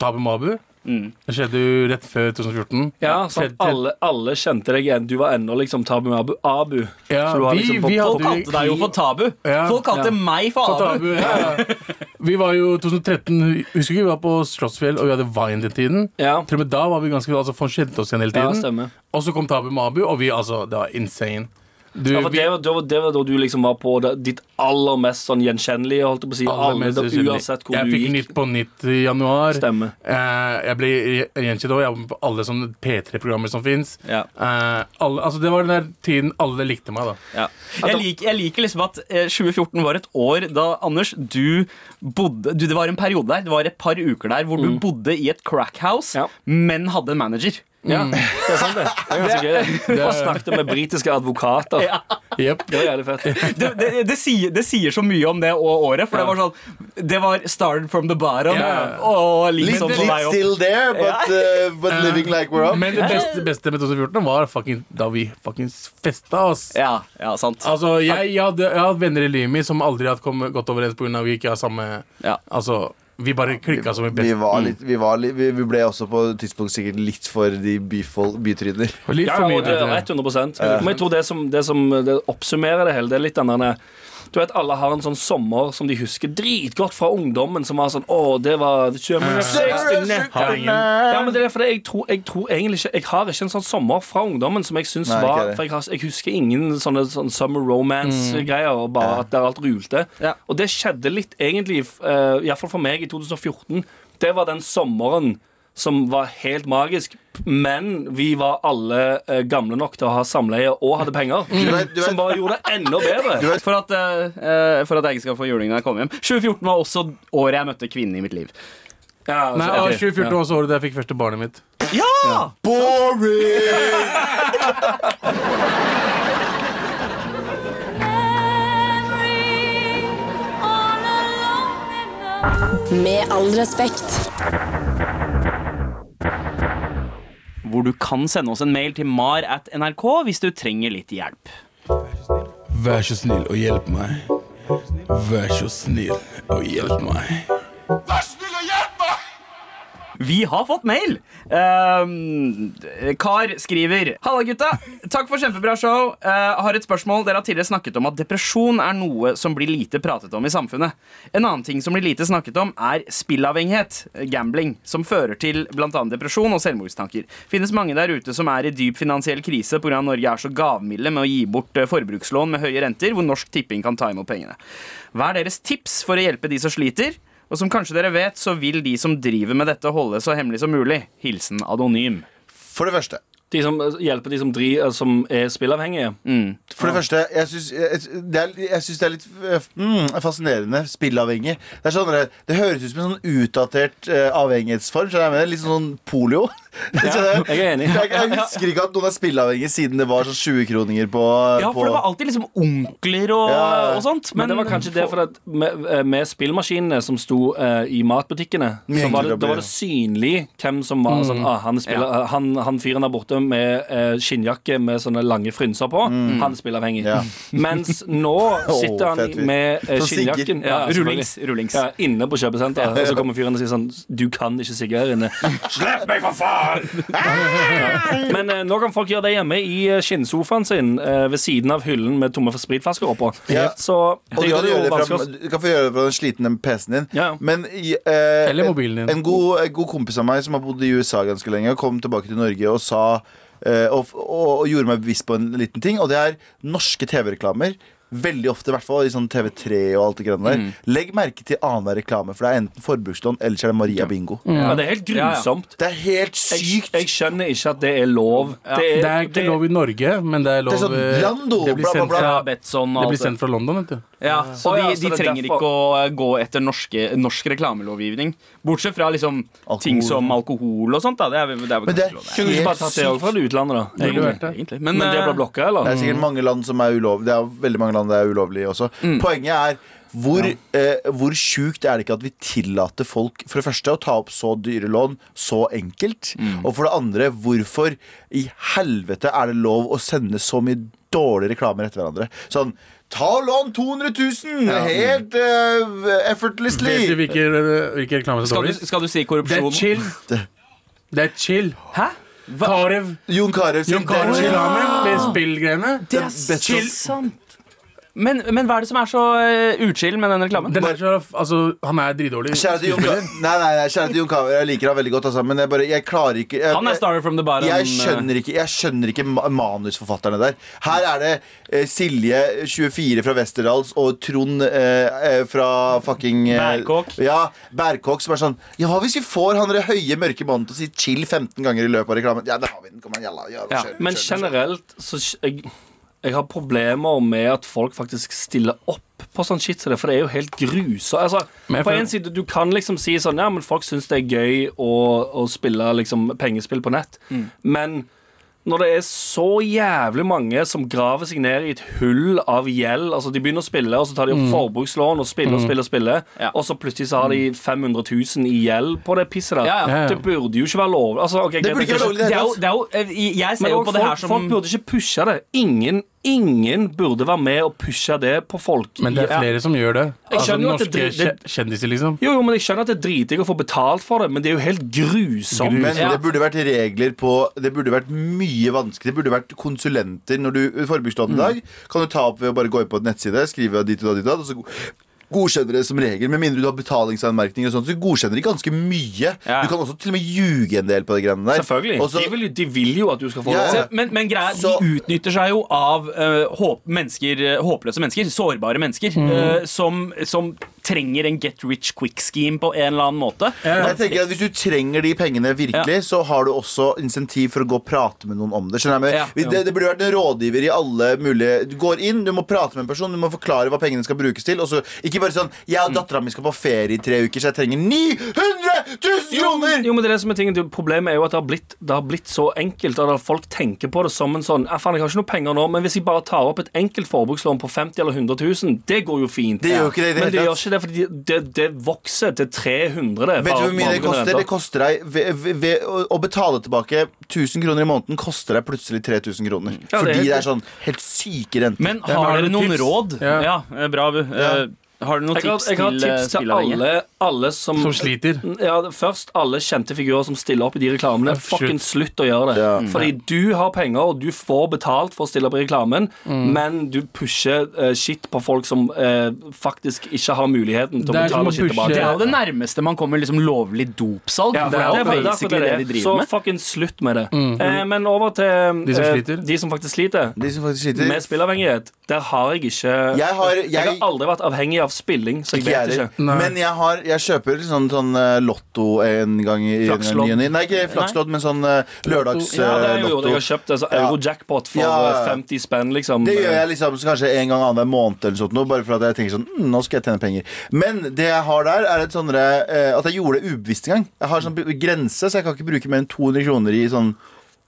Speaker 2: Tabu Mabu. Det skjedde jo rett før 2014.
Speaker 5: Ja, sånn
Speaker 2: Skjedde-
Speaker 5: alle, alle kjente deg igjen. Du var ennå liksom Tabu Abu. Abu.
Speaker 2: Ja,
Speaker 5: Så du var
Speaker 2: vi-
Speaker 5: liksom på
Speaker 2: vi hadde-
Speaker 3: Folk kalte deg jo for Tabu.
Speaker 2: Ja.
Speaker 3: Folk kalte
Speaker 5: Ja.
Speaker 3: meg for Abu.
Speaker 2: Tabu, ja, ja. Vi var jo 2013 Husker ikke vi var på Slottsfjell og vi hadde Vine den tiden?
Speaker 5: Ja.
Speaker 2: Til og med da var vi ganske altså, folk kjente oss igjen hele
Speaker 5: Ja,
Speaker 2: tiden.
Speaker 5: stemmer.
Speaker 2: og så kom Tabu Mabu, og vi altså Det var insane. Du,
Speaker 5: Ja, for
Speaker 2: vi,
Speaker 5: det, var, det, var, det var da du liksom var på det, ditt aller mest sånn gjenkjennelige, holdt jeg på å si.
Speaker 2: alle
Speaker 5: Alle,
Speaker 2: mest
Speaker 5: da,
Speaker 2: usynlige.
Speaker 5: uansett hvor
Speaker 2: jeg
Speaker 5: du
Speaker 2: fikk
Speaker 5: gikk.
Speaker 2: Nytt på Nytt i januar.
Speaker 5: Stemmer.
Speaker 2: Eh, jeg ble gjen- gjenkjent også. Jeg var med på alle sånne P3-programmer som fins.
Speaker 3: Ja.
Speaker 2: altså, det var den der tiden alle likte meg, da.
Speaker 3: Ja. Jeg, liker, jeg liker liksom at eh, 2014 var et år da, Anders, du bodde du, Det var en periode der, det var et par uker der hvor du bodde i et crackhouse,
Speaker 5: Ja.
Speaker 3: men hadde en manager.
Speaker 5: Ja, det er sant, det. Det er ganske gøy. det. Og snakket med britiske advokater.
Speaker 2: Jep.
Speaker 5: Det var jævlig fett.
Speaker 3: Det, det, det, sier, det sier så mye om det og året, for det var sånn Det var started from the bottom
Speaker 2: Ja.
Speaker 3: og
Speaker 6: Litt,
Speaker 3: liksom på vei
Speaker 6: litt
Speaker 3: opp.
Speaker 6: still there, but, uh, but living like we're up.
Speaker 2: Men det beste, beste med 2014 var fucking, da vi fuckings festa oss.
Speaker 3: Ja, ja, sant.
Speaker 2: Altså, jeg, jeg, hadde, jeg hadde venner i livet mitt som aldri hadde kommet godt overens pga. vi ikke har samme
Speaker 3: Ja.
Speaker 2: Altså, vi bare klikka som en
Speaker 6: Vi,
Speaker 2: best.
Speaker 6: var litt, vi, var litt, vi vi ble også på et tidspunkt sikkert litt for de byfol- bytryner.
Speaker 2: Litt
Speaker 5: Ja,
Speaker 2: for mye.
Speaker 5: og det er
Speaker 2: tror jeg.
Speaker 5: rett 100 Men jeg tror det som, det som det oppsummerer det hele, det er litt den derne du vet, Alle har en sånn sommer som de husker dritgodt fra ungdommen. Som var sånn Å, det var det kjører meg nesten i nett."
Speaker 2: Har ingen-
Speaker 5: Ja, men det er fordi jeg tror, jeg tror egentlig ikke Jeg har ikke en sånn sommer fra ungdommen som jeg syns
Speaker 6: Nei, ikke
Speaker 5: var
Speaker 6: det.
Speaker 5: For jeg, har, jeg husker ingen sånne, sånne summer romance-greier, og bare at der alt rulte.
Speaker 3: Ja.
Speaker 5: Og det skjedde litt, egentlig, uh, iallfall for meg, i 2014. Det var den sommeren som var helt magisk, men vi var alle eh, gamle nok til å ha samleie og hadde penger.
Speaker 6: vet- du vet-
Speaker 5: Som bare gjorde det enda bedre.
Speaker 3: For at, eh, eh, for at jeg ikke skal få juling når jeg kommer hjem. 2014 var også året jeg møtte kvinnen i mitt liv.
Speaker 5: Ja, altså,
Speaker 2: Nei,
Speaker 5: ok.
Speaker 2: og 2014 var også året da jeg fikk første barnet mitt.
Speaker 3: Ja!
Speaker 6: Boring!
Speaker 4: Med all respekt.
Speaker 3: Hvor du kan sende oss en mail til mar at nrk hvis du trenger litt hjelp.
Speaker 2: Vær så snill og hjelp meg. Vær så snill og hjelp meg.
Speaker 3: Vi har fått mail! Ehm, Kar skriver Halla, gutta. Takk for kjempebra show. Eh, har et spørsmål. Dere har tidligere snakket om at depresjon er noe som blir lite pratet om i samfunnet. En annen ting som blir lite snakket om, er spillavhengighet, eh, gambling, som fører til bl.a. depresjon og selvmordstanker. Finnes mange der ute som er i dyp finansiell krise pga. Norge er så gavmilde med å gi bort eh, forbrukslån med høye renter, hvor Norsk Tipping kan ta imot pengene. Hva er deres tips for å hjelpe de som sliter? Og som kanskje dere vet, så vil de som driver med dette, holde så hemmelig som mulig. Hilsen anonym.
Speaker 6: For det første.
Speaker 5: De som eh, hjelper de som, dri, eh, som er spillavhengige.
Speaker 6: For det første, jeg syns jeg, det er- jeg synes det er litt eh, mm, fascinerende. Spillavhengig. Det, er sånn, der- det høres ut som en sånn utdatert eh, avhengighetsform. Skjønner du hva jeg mener? Litt sånn polio. Skjønner du?
Speaker 5: jeg er enig.
Speaker 6: Jeg, jeg husker ikke at noen er spillavhengig siden det var sånn 20-kroninger på,
Speaker 3: Ja,
Speaker 6: på
Speaker 3: for det var alltid liksom onkler og,
Speaker 6: Ja.
Speaker 3: og sånt.
Speaker 5: Men, det var kanskje det for at med, eh, med spillmaskinene som sto eh, i matbutikkene,
Speaker 6: Mye
Speaker 5: så var det,
Speaker 6: enklere å
Speaker 5: da
Speaker 6: bli-
Speaker 5: var det synlig hvem som var sånn ah, han, spiller, han, han fyren der borte med eh, skinnjakke med sånne lange frynser på, han er spillavhengig.
Speaker 6: Mm. Ja.
Speaker 5: Mens nå sitter
Speaker 6: fett fyr.
Speaker 5: han med eh,
Speaker 6: Som sigger.
Speaker 5: skinnjakken
Speaker 3: Ja,
Speaker 5: selvfølgelig.
Speaker 3: rullings, rullings.
Speaker 5: Ja, inne på kjøpesenteret, og så kommer fyren og sier sånn Du kan ikke sigge her inne. Men eh, nå kan folk gjøre det hjemme i eh, skinnsofaen sin eh, ved siden av hyllen med tomme spritflasker oppå.
Speaker 6: Ja.
Speaker 5: Så
Speaker 6: Og du
Speaker 5: gjør
Speaker 6: kan,
Speaker 5: det jo
Speaker 6: gjøre det
Speaker 5: vanskelig
Speaker 6: fra,
Speaker 5: å-
Speaker 6: du kan få gjøre det fra den slitne PC-en din.
Speaker 5: Ja, ja.
Speaker 6: Men i, eh,
Speaker 2: Eller mobilen din.
Speaker 6: En god, en god kompis av meg som har bodd i USA ganske lenge, kom tilbake til Norge og sa eh, og, og, og gjorde meg bevisst på en liten ting, og det er norske TV-reklamer. Veldig ofte, i hvert fall i sånn TV3 og alt det greiene
Speaker 5: Mm.
Speaker 6: der. Legg merke til annenhver reklame, for det er enten forbrukslån eller så er det Maria Bingo.
Speaker 5: Ja, det er helt
Speaker 3: Ja, ja.
Speaker 5: grusomt.
Speaker 6: Det er helt
Speaker 5: Jeg,
Speaker 6: sykt.
Speaker 5: jeg skjønner ikke at det er lov.
Speaker 2: Det er ikke lov i Norge, men det er lov
Speaker 6: Det er sånn,
Speaker 2: eh,
Speaker 6: Lando,
Speaker 2: det, blir
Speaker 6: bla, bla,
Speaker 2: sendt
Speaker 6: bla.
Speaker 2: fra,
Speaker 3: Ja, Betsson og
Speaker 2: det
Speaker 3: alt
Speaker 2: blir sendt fra London, vet du.
Speaker 3: Ja, så
Speaker 5: Å,
Speaker 3: de,
Speaker 5: ja, så
Speaker 3: de
Speaker 5: det er
Speaker 3: trenger
Speaker 5: derfor-
Speaker 3: ikke å eh, gå etter norske, norsk reklamelovgivning. Bortsett fra liksom
Speaker 6: Alkohol.
Speaker 3: ting som alkohol og sånt. Da. Det er, vel- det er vel
Speaker 6: Men det er
Speaker 3: kanskje lov,
Speaker 5: Kunne du ikke bare
Speaker 6: helt
Speaker 5: tatt det også
Speaker 6: sykt.
Speaker 5: fra det utlandet, da?
Speaker 2: Burde
Speaker 5: Egentlig.
Speaker 2: vært det.
Speaker 3: egentlig.
Speaker 5: Men, det ble
Speaker 3: eh,
Speaker 5: blokka, eller?
Speaker 6: Det er sikkert mange land som er ulovlig. Det er veldig mange land det er ulovlig også. Poenget er hvor, eh, hvor sjukt er det ikke at vi tillater folk for det første å ta opp så dyre lån så enkelt? Og for det andre, hvorfor i helvete er det lov å sende så mye dårlige reklamer etter hverandre? Sånn Ta og lån 200 000! Helt eh, effortlessly.
Speaker 2: Vet du hvilke, hvilke reklamer som
Speaker 3: Skal
Speaker 2: står
Speaker 3: du,
Speaker 2: i?
Speaker 3: skal du si
Speaker 2: Det er
Speaker 3: korrupsjon?
Speaker 2: chill. Det er chill.
Speaker 3: Hæ?
Speaker 2: Karev.
Speaker 6: Jon Carew sin
Speaker 2: Jon Carew
Speaker 6: Dertil.
Speaker 2: ramen med spillgreiene.
Speaker 3: Det er
Speaker 6: så
Speaker 3: chill. Men, men hva er det som er så eh, uchill med den reklamen?
Speaker 2: Den er så, altså, han er dritdårlig.
Speaker 6: Kjære til Jon Carew. Nei, nei, nei, kjære til Jon Carew. Jeg liker han veldig godt, altså, men jeg bare Jeg klarer ikke jeg,
Speaker 3: Han er Starry from the Bar.
Speaker 6: jeg
Speaker 3: han, eh,
Speaker 6: skjønner ikke, jeg skjønner ikke ma- manusforfatterne der. Her er det eh, Silje, 24 fra Westerdals, og Trond eh, eh, fra fucking eh,
Speaker 3: Bærkåk.
Speaker 6: Ja, Bærkåk, som er sånn Ja, hva hvis vi får han der høye, mørke mannen til å si chill 15 ganger i løpet av reklamen? Ja, der har vi den. Kom an, jalla. Ja,
Speaker 3: Ja,
Speaker 6: kjør,
Speaker 5: Men
Speaker 6: kjør, kjør.
Speaker 5: generelt så sk- jeg, jeg har problemer med at folk faktisk stiller opp på sånn shit som det, for det er jo helt grusa. Altså,
Speaker 2: Men jeg
Speaker 5: på
Speaker 2: føler-
Speaker 5: en side, du kan liksom si sånn Ja, men folk syns det er gøy å, å spille liksom pengespill på nett, men når det er så jævlig mange som graver seg ned i et hull av gjeld Altså De begynner å spille, og så tar de opp
Speaker 2: Mm.
Speaker 5: forbrukslån og spiller og spiller, og spiller
Speaker 3: Ja.
Speaker 5: og så plutselig så har de 500 000 i gjeld på det pisset der.
Speaker 3: Ja, ja.
Speaker 2: Mm. Ja, ja.
Speaker 5: Det burde jo ikke være lov. Altså, ok, greit,
Speaker 6: burde
Speaker 5: det
Speaker 6: ikke være
Speaker 5: kanskje-
Speaker 6: lovlig, det
Speaker 3: Det er jo, det er jo, eh, jeg ser
Speaker 5: men
Speaker 3: jo
Speaker 5: og
Speaker 3: på det
Speaker 5: folk,
Speaker 3: her som
Speaker 5: folk burde ikke pushe det. Ingen, ingen burde være med og pushe det på folk.
Speaker 2: Men det er
Speaker 5: Ja.
Speaker 2: flere som gjør det. Altså
Speaker 5: skjønner jo at det
Speaker 2: norske
Speaker 5: dri- det-
Speaker 2: kje- kjendiser, liksom.
Speaker 5: Jo, jo, men Jeg skjønner at det er dritdigg å få betalt for det, men det er jo helt grusomt.
Speaker 6: Men
Speaker 3: Ja.
Speaker 6: det burde vært regler på Det burde vært mye vanskelig. Det burde vært konsulenter når du forbrukslån
Speaker 5: Mm.
Speaker 6: i dag. Kan du ta opp ved å bare gå inn på en nettside, skrive dit og da, dit og da, og så go- godkjenner det som regel. Med mindre du har betalingsanmerkninger og sånt, så godkjenner de ganske mye.
Speaker 3: Ja.
Speaker 6: Du kan også til og med ljuge en del på de greiene der.
Speaker 5: Selvfølgelig.
Speaker 6: Og så-
Speaker 5: de, vil jo, de vil jo at du skal få
Speaker 6: Ja, ja.
Speaker 5: lov.
Speaker 3: Se, men, men greia, er,
Speaker 6: Så-
Speaker 3: De utnytter seg jo av eh, håp, mennesker, eh, håpløse mennesker, sårbare mennesker, eh, som, som trenger en get rich quick scheme på en eller annen måte.
Speaker 6: Men jeg tenker at Hvis du trenger de pengene virkelig, så har du også insentiv for å gå og prate med noen om det. Skjønner jeg?
Speaker 3: Ja.
Speaker 6: Men det, det burde vært en rådgiver i alle mulige Du går inn, du må prate med en person, du må forklare hva pengene skal brukes til. Og så, ikke bare sånn 'Jeg
Speaker 5: Mm.
Speaker 6: og dattera mi skal på ferie i tre uker, så jeg trenger 900 000 kroner!'
Speaker 5: Jo, men det er det som er tingen. Det- Problemet er jo at det har blitt, det har blitt så enkelt. At folk tenker på det som en sånn «Ja, faen, Jeg har ikke noe penger nå, men hvis jeg bare tar opp et enkelt forbrukslån på 50 eller 100 000, det går jo fint.
Speaker 6: Det gjør jo ikke det i det
Speaker 5: men
Speaker 6: hele
Speaker 5: det
Speaker 6: tatt.
Speaker 5: gjør ikke det, fordi det, det vokser til 300. det,
Speaker 6: Vet du
Speaker 5: bare
Speaker 6: hvor mye
Speaker 5: på mange
Speaker 6: det koster?
Speaker 5: måneder.
Speaker 6: Det koster deg ved, ved, ved, å, å betale tilbake 1000 kroner i måneden koster deg plutselig 3000 kroner.
Speaker 5: Ja, det er
Speaker 6: Fordi
Speaker 5: helt-
Speaker 6: det er sånn helt syke renter.
Speaker 3: Men
Speaker 2: men
Speaker 3: har
Speaker 2: har
Speaker 3: dere
Speaker 2: du
Speaker 3: noen
Speaker 2: tips?
Speaker 3: råd?
Speaker 2: Ja.
Speaker 3: eh, bra, Abu. Eh, har dere noen
Speaker 5: Jeg har,
Speaker 3: tips
Speaker 5: jeg har
Speaker 3: til eh,
Speaker 5: tips til
Speaker 3: spillavhengige?
Speaker 5: alle, alle som,
Speaker 2: Som sliter.
Speaker 5: Ja, Først alle kjente figurer som stiller opp i de reklamene.
Speaker 2: Absolutt.
Speaker 5: Fucking slutt å gjøre det.
Speaker 3: Mm.
Speaker 6: Ja.
Speaker 5: Fordi du har penger, og du får betalt for å stille opp i reklamen,
Speaker 3: Mm.
Speaker 5: men du pusher eh, shit på folk som eh, faktisk ikke har muligheten til å
Speaker 2: Det er som
Speaker 5: betale
Speaker 2: å
Speaker 5: shit tilbake.
Speaker 2: pushe-
Speaker 3: Det er jo det nærmeste man kommer liksom lovlig dopsalg.
Speaker 5: Ja,
Speaker 3: for det er jo basically det, de driver
Speaker 5: Så
Speaker 3: med. Mm.
Speaker 5: fucking slutt med det. Eh, men over til
Speaker 2: De som
Speaker 5: eh,
Speaker 2: sliter.
Speaker 5: de som faktisk sliter.
Speaker 6: De som faktisk sliter
Speaker 5: Med spillavhengighet, der har jeg ikke
Speaker 6: Jeg har- jeg-
Speaker 5: har aldri vært avhengig av spilling, så jeg
Speaker 6: Ikke jeg
Speaker 5: vet
Speaker 6: heller.
Speaker 5: ikke.
Speaker 2: Nei.
Speaker 6: Men jeg, har, jeg kjøper sånn, sånn eh, lotto en gang i i
Speaker 5: Flakslodd.
Speaker 6: ny og ny. Nei, ikke flakslodd, men sånn
Speaker 5: Ja, det
Speaker 6: eh,
Speaker 5: er jo
Speaker 6: lørdagslotto.
Speaker 5: det jeg har kjøpt. Altså,
Speaker 6: Ja.
Speaker 5: Eurojackpot for
Speaker 6: Ja, ja, ja.
Speaker 5: eh, 50 spenn, liksom.
Speaker 6: det gjør jeg liksom så kanskje en gang annenhver måned, eller sånt, nå, bare for at jeg tenker sånn mm, Nå skal jeg tjene penger. Men det jeg har der, er et sånnere, eh, at jeg gjorde det ubevisst en gang. Jeg har sånn grense, så jeg kan ikke bruke mer enn 200 kroner i sånn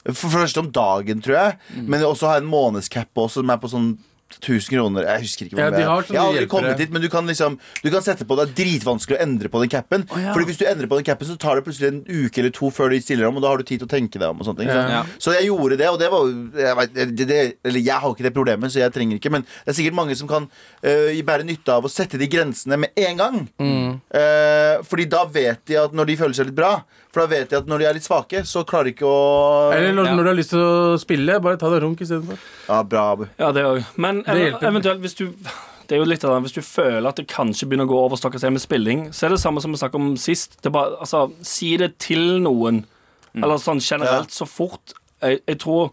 Speaker 6: For først om dagen, tror jeg.
Speaker 5: Mm.
Speaker 6: Men også har jeg en månedscap også, som er på sånn 1000 kroner. Jeg husker ikke hva
Speaker 2: Ja,
Speaker 6: det
Speaker 2: de har
Speaker 6: er.
Speaker 2: sånne
Speaker 6: Jeg har aldri
Speaker 2: hjelpere.
Speaker 6: kommet dit, men du kan liksom Du kan sette på Det er dritvanskelig å endre på den capen. Fordi hvis du endrer på den capen, så tar det plutselig en uke eller to før de stiller om, og da har du tid til å tenke deg om. Og sånne ting, sant?
Speaker 3: Ja.
Speaker 6: Så jeg gjorde det, og det var jo- jeg, vet- det, det, eller jeg har ikke det problemet, så jeg trenger ikke. Men det er sikkert mange som kan øh, bære nytte av å sette de grensene med en gang. Eh, fordi da vet de at når de føler seg litt bra, for da vet de at når de er litt svake, så klarer de ikke å
Speaker 2: Eller når,
Speaker 3: Ja.
Speaker 2: når du har lyst til å spille, bare ta deg runk istedenfor.
Speaker 6: Ja, bra, Abu.
Speaker 5: Ja, det òg. Men ev
Speaker 2: hjelper.
Speaker 5: eventuelt, hvis du det er jo litt av det. Hvis du føler at det kanskje begynner å gå over stokka seg med spilling, så er det samme som vi snakket om sist. Det er bare, altså, si det til noen. Eller sånn
Speaker 6: Ja.
Speaker 5: generelt, så fort. Jeg, jeg tror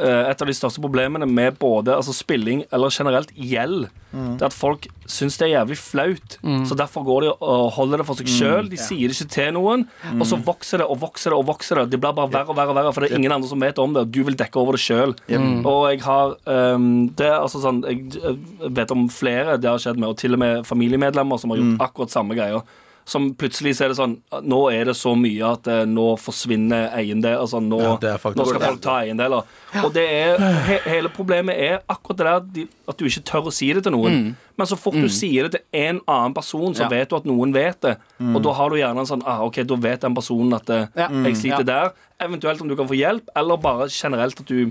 Speaker 5: eh, et av de største problemene med både altså, spilling eller generelt gjeld, det er at folk syns det er jævlig flaut.
Speaker 2: Mm.
Speaker 5: Så derfor går de og holder det for seg sjøl. De sier det ikke til noen. Og
Speaker 2: Mm.
Speaker 5: så vokser det og vokser det, og vokser det. Det blir bare verre og verre, og verre for det er ingen andre som vet om det. og Du vil dekke over det sjøl.
Speaker 2: Mm.
Speaker 5: Og jeg har ehm, det er altså sånn Jeg eh, vet om flere det har skjedd med, og til og med familiemedlemmer som har
Speaker 2: Mm.
Speaker 5: gjort akkurat samme greia. Som plutselig så er det sånn Nå er det så mye at eh, nå forsvinner eiendel. Altså nå,
Speaker 2: Ja, det er faktisk-
Speaker 5: nå skal folk ta eiendeler. Og det er, he, hele problemet er akkurat det der at de- at du ikke tør å si det til noen. Men så fort du sier det til en annen person,
Speaker 3: Mm.
Speaker 5: så
Speaker 3: Ja. Mm.
Speaker 5: vet du at noen vet det. Og da har du gjerne en sånn ah, OK, da vet den personen at eh,
Speaker 3: Ja. Mm.
Speaker 5: jeg sliter
Speaker 3: Ja.
Speaker 5: der. Eventuelt om du kan få hjelp, eller bare generelt at du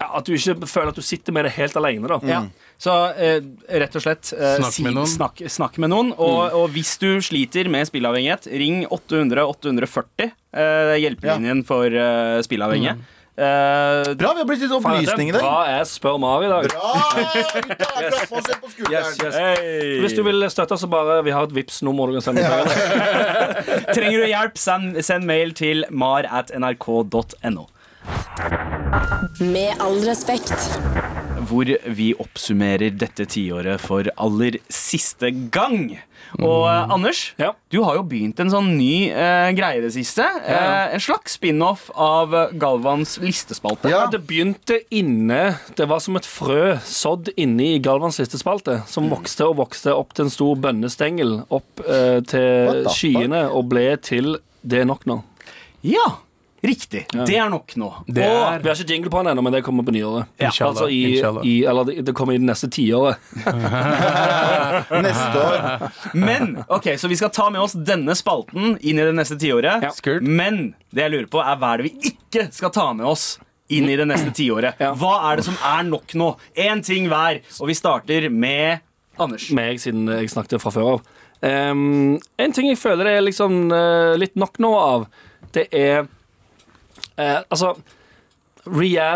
Speaker 5: ja, At du ikke føler at du sitter med det helt alene, da.
Speaker 3: Ja. Så eh, rett og slett eh,
Speaker 2: Snakk med noen.
Speaker 3: Snakk, snakk med noen og, og hvis du sliter med spilleavhengighet, ring 800 840. Eh, hjelpelinjen for eh, spilleavhengige. Eh,
Speaker 6: Bra, vi har blitt litt opplysning i dag.
Speaker 5: Bra ass, spør Mari i dag.
Speaker 6: Bra! gutta, klapp oss igjen på
Speaker 5: Yes,
Speaker 6: skulderen.
Speaker 5: yes. Hvis du vil støtte, så bare Vi har et vips nummer du kan sende. penger.
Speaker 3: trenger du hjelp, send, send mail til mar at nrk.no.
Speaker 4: Med all respekt.
Speaker 3: hvor vi oppsummerer dette tiåret for aller siste gang. Og eh, Anders,
Speaker 5: Ja.
Speaker 3: du har jo begynt en sånn ny eh, greie i det siste.
Speaker 5: ja.
Speaker 3: Eh, en slags spin-off av eh, Galvans listespalte.
Speaker 6: Ja.
Speaker 5: Det begynte inne. Det var som et frø sådd inne i Galvans listespalte, som
Speaker 6: Mm.
Speaker 5: vokste og vokste opp til en stor bønnestengel, opp eh,
Speaker 6: What
Speaker 5: til
Speaker 6: the fuck?
Speaker 5: skyene, og ble til Det er nok nå.
Speaker 3: Ja, riktig. Det er nok nå.
Speaker 2: Det
Speaker 5: Og
Speaker 2: er
Speaker 5: vi har ikke jingle på den ennå, men det kommer på nyåret.
Speaker 2: Ja.
Speaker 5: Altså i,
Speaker 2: Inshallah.
Speaker 5: i, eller det- det kommer i det neste tiåret.
Speaker 6: Neste år.
Speaker 3: Men, ok, Så vi skal ta med oss denne spalten inn i det neste tiåret.
Speaker 5: Ja.
Speaker 2: Skurt.
Speaker 3: Men det jeg lurer på, er hva er det vi ikke skal ta med oss? Inn i det neste tiåret.
Speaker 5: Ja.
Speaker 3: Hva er det som er nok nå? Én ting hver. Og vi starter med Anders.
Speaker 5: meg, siden jeg snakket fra før av. Ehm, en ting jeg føler det er liksom eh, litt nok nå av, det er eh, Altså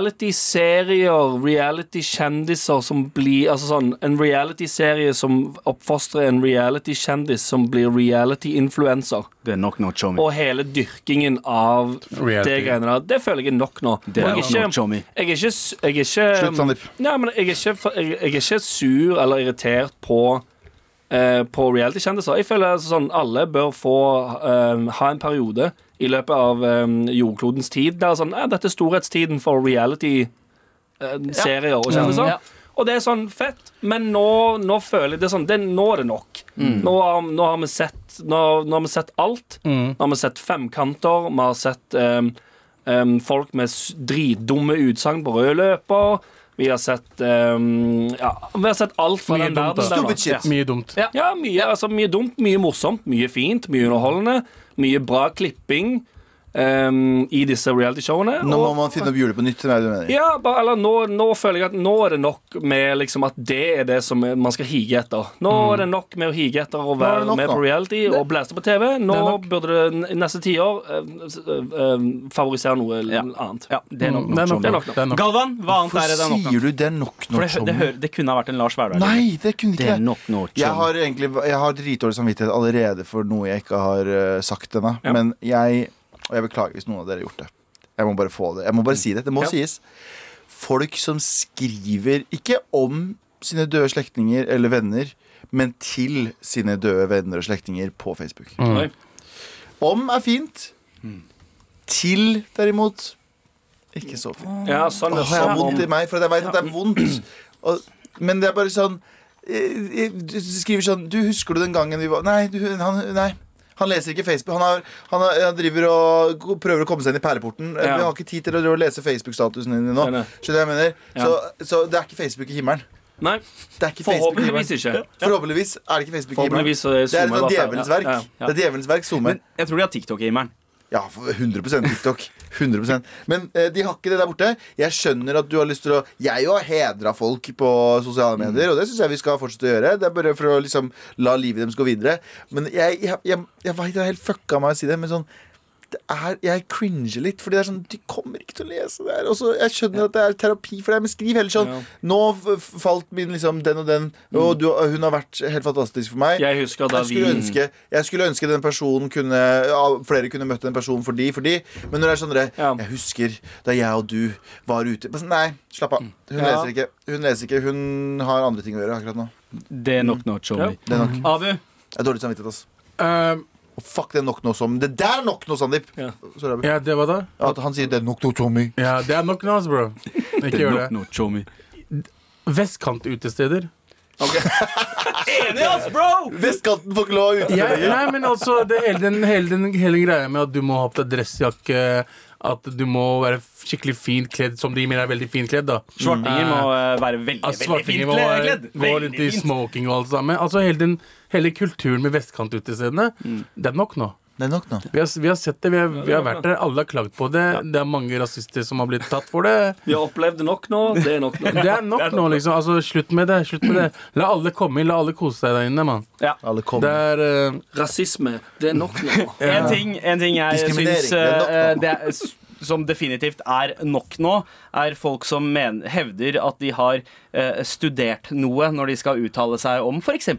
Speaker 5: Reality-serier, reality-kjendiser som blir Altså sånn En reality-serie som oppfostrer en reality-kjendis som blir reality-influencer.
Speaker 3: Det er nok nå, Tjommi.
Speaker 5: Og hele dyrkingen av det
Speaker 2: Reality.
Speaker 5: greiene der. Det føler jeg er nok nå.
Speaker 3: Det er
Speaker 5: Og jeg
Speaker 3: nok nå, Tjommi.
Speaker 5: jeg er ikke, s- jeg er ikke
Speaker 6: Slutt, Sandeep.
Speaker 5: Nei, men jeg er ikke, for- jeg, jeg er ikke sur eller irritert på eh, På reality-kjendiser. Jeg føler altså sånn alle bør få eh, ha en periode i løpet av eh, jordklodens tid der sånn eh, Dette er storhetstiden for reality-serier
Speaker 2: Mm,
Speaker 5: og kjendiser.
Speaker 3: Ja.
Speaker 5: Og det er sånn fett, men nå, nå føler jeg det er sånn det, Nå er det nok.
Speaker 2: Mm.
Speaker 5: Nå, har, nå, har vi sett, nå, nå har vi sett alt.
Speaker 2: Mm.
Speaker 5: Nå har vi sett femkanter, vi har sett um, um, folk med s- dritdumme utsagn på rød løper. Vi har sett um, Ja, vi har sett alt fra
Speaker 2: Mye
Speaker 5: den
Speaker 2: dumt, da.
Speaker 5: verden.
Speaker 6: Stupid
Speaker 5: der, da.
Speaker 6: shit.
Speaker 2: mye dumt.
Speaker 5: Ja, ja mye, altså, mye dumt, mye morsomt, mye fint, mye underholdende. Mye bra klipping um, i disse realityshowene.
Speaker 6: Nå må
Speaker 5: og-
Speaker 6: man finne opp hjulet på nytt. som er det du mener.
Speaker 5: ja, bare, eller nå, nå føler jeg at nå er det nok med liksom at det er det som man skal hige etter. Nå er det nok med å hige etter å
Speaker 6: er det
Speaker 5: være
Speaker 6: nok
Speaker 5: med
Speaker 6: Mm. nå.
Speaker 5: på reality og blæste på TV. Nå
Speaker 2: Det er nok.
Speaker 5: burde det n- neste tiår eh, eh, favorisere noe
Speaker 3: Ja.
Speaker 5: annet. Mm.
Speaker 3: Ja, det
Speaker 2: Det er
Speaker 3: er nok
Speaker 2: nok,
Speaker 3: Tjommi.
Speaker 5: det er nok nå.
Speaker 2: det er nok.
Speaker 3: Galvan, hva annet er det det er
Speaker 6: Hvorfor
Speaker 3: nok nå?
Speaker 6: sier du det er nok
Speaker 3: For
Speaker 6: nå,
Speaker 3: det, hø- det,
Speaker 6: Tjommi?
Speaker 3: hø- det kunne ha vært en Lars Verdal.
Speaker 6: Nei, det kunne
Speaker 3: Det
Speaker 6: ikke
Speaker 3: er
Speaker 6: jeg.
Speaker 3: nok nå,
Speaker 6: Jeg
Speaker 3: Tjommi.
Speaker 6: har egentlig Jeg har dritdårlig samvittighet allerede for noe jeg ikke har eh, sagt ennå. Men jeg Og jeg beklager hvis noen av dere har gjort det. Jeg må bare få det. Jeg må bare si det. Det må sies. Folk som skriver ikke om sine døde slektninger eller venner, men til sine døde venner og slektninger på Facebook.
Speaker 3: Mm.
Speaker 5: Oi.
Speaker 6: Mm. Om er fint. Til, derimot, ikke så fint.
Speaker 5: Ja, sånn,
Speaker 6: Åh, jeg har vondt i
Speaker 5: sånn,
Speaker 6: meg, for jeg vet at det er vondt. Og, men det er bare sånn eh, eh, Du skriver sånn Du, husker du den gangen vi var Nei, du, han, nei. Han leser ikke Facebook. Han, har, han, har, han driver og ko- prøver å komme seg inn i pæreporten. Eh,
Speaker 5: Ja.
Speaker 6: Vi har ikke tid til å drive og lese Facebook-statusen din nå.
Speaker 5: Nei, nei.
Speaker 6: Skjønner du hva jeg mener?
Speaker 5: Ja.
Speaker 6: Så, så det er ikke Facebook i himmelen.
Speaker 5: nei,
Speaker 6: Det er ikke Facebook i
Speaker 5: forhåpentligvis
Speaker 6: himmelen.
Speaker 5: ikke.
Speaker 6: Forhåpentligvis er det ikke Facebook i himmelen.
Speaker 5: Forhåpentligvis så er
Speaker 6: Det er
Speaker 5: Zoom i
Speaker 6: et sånt
Speaker 5: hvert fall-
Speaker 6: djevelens
Speaker 5: ja,
Speaker 6: verk.
Speaker 5: ja.
Speaker 6: Det er djevelens verk, Zoome.
Speaker 3: Men jeg tror de har TikTok-gameren.
Speaker 6: Ja, for 100 TikTok. 100 Men eh, de har ikke det der borte. Jeg skjønner at du har lyst til å Jeg har hedra folk på sosiale medier, og det syns jeg vi skal fortsette å gjøre. Det er bare for å liksom la livet deres gå videre. Men jeg, jeg, jeg, jeg vet det er helt fucka av meg å si det, men sånn det er, jeg cringer litt, Fordi det er sånn de kommer ikke til å lese det her. Og så jeg skjønner at det er terapi for deg, men skriv heller sånn
Speaker 5: Ja. Mm.
Speaker 6: Nå f- falt min liksom den og den, og du, hun har vært helt fantastisk for meg.
Speaker 5: Jeg husker da
Speaker 6: Jeg
Speaker 5: vi
Speaker 6: skulle, ønske, jeg skulle ønske den personen kunne ja, flere kunne møtt den personen for de, for de. Men når det er sånn dere,
Speaker 5: Ja.
Speaker 6: Jeg husker da jeg og du var ute Men sånn, Nei, slapp av. Hun
Speaker 5: Ja.
Speaker 6: leser ikke. Hun leser ikke Hun har andre ting å gjøre akkurat nå.
Speaker 3: Det er nok nå, Tjommi.
Speaker 6: Det er
Speaker 5: Mm.
Speaker 6: nok.
Speaker 3: Abu,
Speaker 6: Jeg har dårlig samvittighet. ass.
Speaker 2: Eh,
Speaker 6: Og Fuck, det er nok nå som Det der er nok nå, Sandeep!
Speaker 5: Ja.
Speaker 6: Sorry, Abu.
Speaker 2: ja, det var det.
Speaker 6: At han sier 'det er nok nå, Tommy'.
Speaker 2: Ja, det er nok nå, altså, bro. Ikke gjør det.
Speaker 3: nok nå, Tjommi.
Speaker 2: Vestkantutesteder.
Speaker 3: Enig, ass, bro!
Speaker 6: Vestkanten får ikke lov å
Speaker 2: Ja,
Speaker 6: utestede.
Speaker 2: nei, men altså, det hele, den, hele, den, hele greia med at du må ha på deg dressjakke, at du må være skikkelig fint kledd, som de mener er veldig fint kledd, da.
Speaker 3: Svartinger må eh, være veldig,
Speaker 2: Altså,
Speaker 3: veldig fint
Speaker 2: Svartinger Mm. må være-
Speaker 3: kledd.
Speaker 2: gå rundt i
Speaker 3: Veldig fint. Mm.
Speaker 2: smoking og alt sammen. Altså, hele, den, hele kulturen med vestkantutestedene, det er nok nå.
Speaker 6: Det er nok nå.
Speaker 2: Vi har, vi har sett det, vi har, vi har vært der. Alle har klagd på det. Det er mange rasister som har blitt tatt for det.
Speaker 5: Vi har opplevd det nok nå. Det er nok nå.
Speaker 2: Det er nok nå, liksom. Altså, slutt med det. slutt med det La alle komme inn. La alle kose seg der inne, mann.
Speaker 6: Alle
Speaker 2: Det
Speaker 6: kommer.
Speaker 2: er eh,
Speaker 5: Rasisme. Det er nok nå.
Speaker 3: En ting, en ting jeg
Speaker 6: Diskriminering,
Speaker 3: syns
Speaker 6: det er nok nå.
Speaker 3: eh, det er, som definitivt er nok nå, er folk som men, hevder at de har eh, studert noe når de skal uttale seg om f.eks.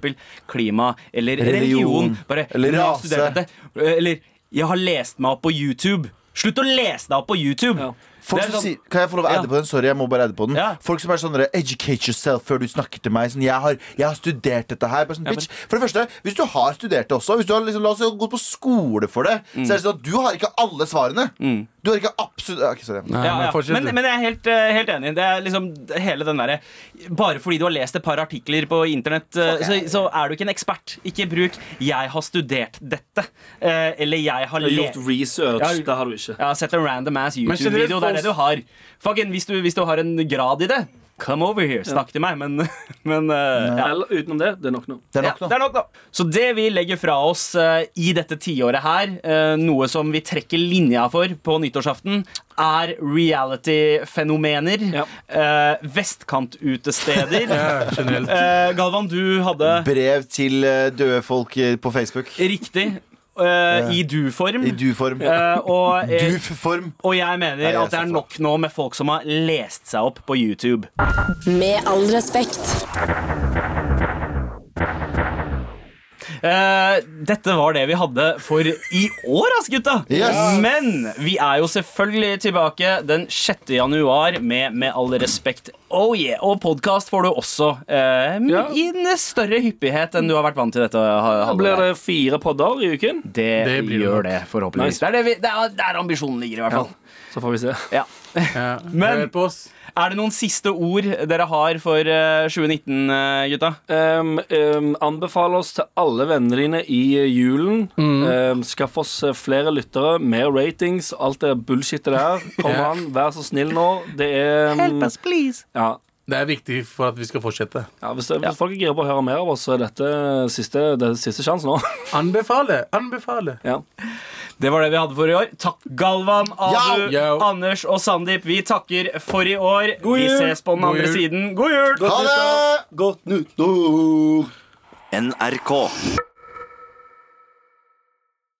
Speaker 3: klima eller religion.
Speaker 6: Religion.
Speaker 3: Bare,
Speaker 6: Eller
Speaker 3: «Jeg har
Speaker 6: rase.»
Speaker 3: studert dette. Eller 'jeg har lest meg opp på YouTube'. Slutt å lese deg opp på YouTube!
Speaker 5: Ja.
Speaker 6: Folk
Speaker 3: Det er
Speaker 6: som
Speaker 3: sånn-
Speaker 6: sier, kan jeg få lov å
Speaker 3: Ja.
Speaker 6: adde på den? Sorry, jeg må bare adde på den.
Speaker 3: Ja.
Speaker 6: Folk som er sånn der, Educate yourself før du snakker til meg. Sånn, jeg, har, 'Jeg har studert dette her.' Bare sånn, bitch. For det første, hvis du har studert det også, hvis du har liksom, la oss si, gått på skole for det, så er
Speaker 3: Mm.
Speaker 6: det sånn at du har ikke alle svarene. Du har ikke absolutt Ok, sorry.
Speaker 2: Nei,
Speaker 3: Ja,
Speaker 2: men
Speaker 3: ja.
Speaker 2: fortsett.
Speaker 3: Men, men jeg er helt, eh, helt enig. Det er liksom hele den derre Bare fordi du har lest et par artikler på internett, eh, så, så er du ikke en ekspert. Ikke bruk 'jeg har studert dette', eh, eller 'jeg har
Speaker 5: Du har
Speaker 3: le-
Speaker 5: gjort research.
Speaker 3: Ja.
Speaker 5: Det har du ikke.
Speaker 3: Jeg har sett en random ass
Speaker 2: Men generelt
Speaker 3: YouTube-video. Det er
Speaker 2: folk-
Speaker 3: det du har. Fucking, hvis, du, hvis du har en grad i det, come over here. Snakk til meg, men, men eh, ja.
Speaker 5: Eller utenom det, det er nok nå.
Speaker 6: Det er
Speaker 3: Ja,
Speaker 6: nok nå.
Speaker 3: det er nok nå. Så det vi legger fra oss eh, i dette tiåret her, eh, noe som vi trekker linja for på nyttårsaften, er reality-fenomener.
Speaker 5: Ja.
Speaker 3: eh, Vestkantutesteder.
Speaker 2: ja, generelt.
Speaker 3: Eh, Galvan, du hadde
Speaker 6: Brev til eh, døde folk eh, på Facebook.
Speaker 3: riktig eh, i du-form.
Speaker 6: I du-form.
Speaker 3: Eh, og, eh,
Speaker 6: Duf-form.
Speaker 3: og jeg mener
Speaker 6: jeg
Speaker 3: at det
Speaker 6: ser
Speaker 3: er
Speaker 6: for.
Speaker 3: nok nå med folk som har lest seg opp på YouTube.
Speaker 4: Med all respekt.
Speaker 3: Eh, dette var det vi hadde for i år, ass, gutta.
Speaker 6: Yes.
Speaker 3: Men vi er jo selvfølgelig tilbake den 6. januar med Med all respekt. Oh yeah. Og podkast får du også eh,
Speaker 5: Ja.
Speaker 3: i en større hyppighet enn du har vært vant til dette ha-
Speaker 5: Da blir
Speaker 3: halvåret.
Speaker 5: det fire podder i uken.
Speaker 3: Det,
Speaker 2: Det blir det
Speaker 3: gjør
Speaker 2: nok.
Speaker 3: det, forhåpentligvis.
Speaker 5: Nice.
Speaker 3: Det er det vi- det er der ambisjonen ligger, i hvert fall.
Speaker 5: Så får vi se.
Speaker 3: Ja.
Speaker 2: Ja.
Speaker 3: Men-
Speaker 2: Hør på oss.
Speaker 3: Er det noen siste ord dere har for eh, 2019, eh, gutta?
Speaker 5: Um, um, anbefal oss til alle vennene dine i eh, julen.
Speaker 3: Mm.
Speaker 5: Um, skaff oss eh, flere lyttere, mer ratings, alt det bullshitet der. Kom
Speaker 2: Ja.
Speaker 5: an, vær så snill nå. Det er um,
Speaker 3: please.
Speaker 5: ja,
Speaker 2: Det er viktig for at vi skal fortsette.
Speaker 5: ja, hvis, det, hvis folk er gira på å høre mer av oss, så er dette siste, det er siste sjanse nå.
Speaker 2: Anbefale! Anbefale!
Speaker 5: ja.
Speaker 3: Det var det vi hadde for i år. Takk, Galvan, Abu,
Speaker 2: Yo! Yo.
Speaker 3: Anders og Sandeep. Vi takker for i år. vi
Speaker 5: jul!
Speaker 3: ses på den
Speaker 2: God
Speaker 3: andre
Speaker 2: jul!
Speaker 3: siden. God jul!
Speaker 6: Ha det!
Speaker 7: NRK.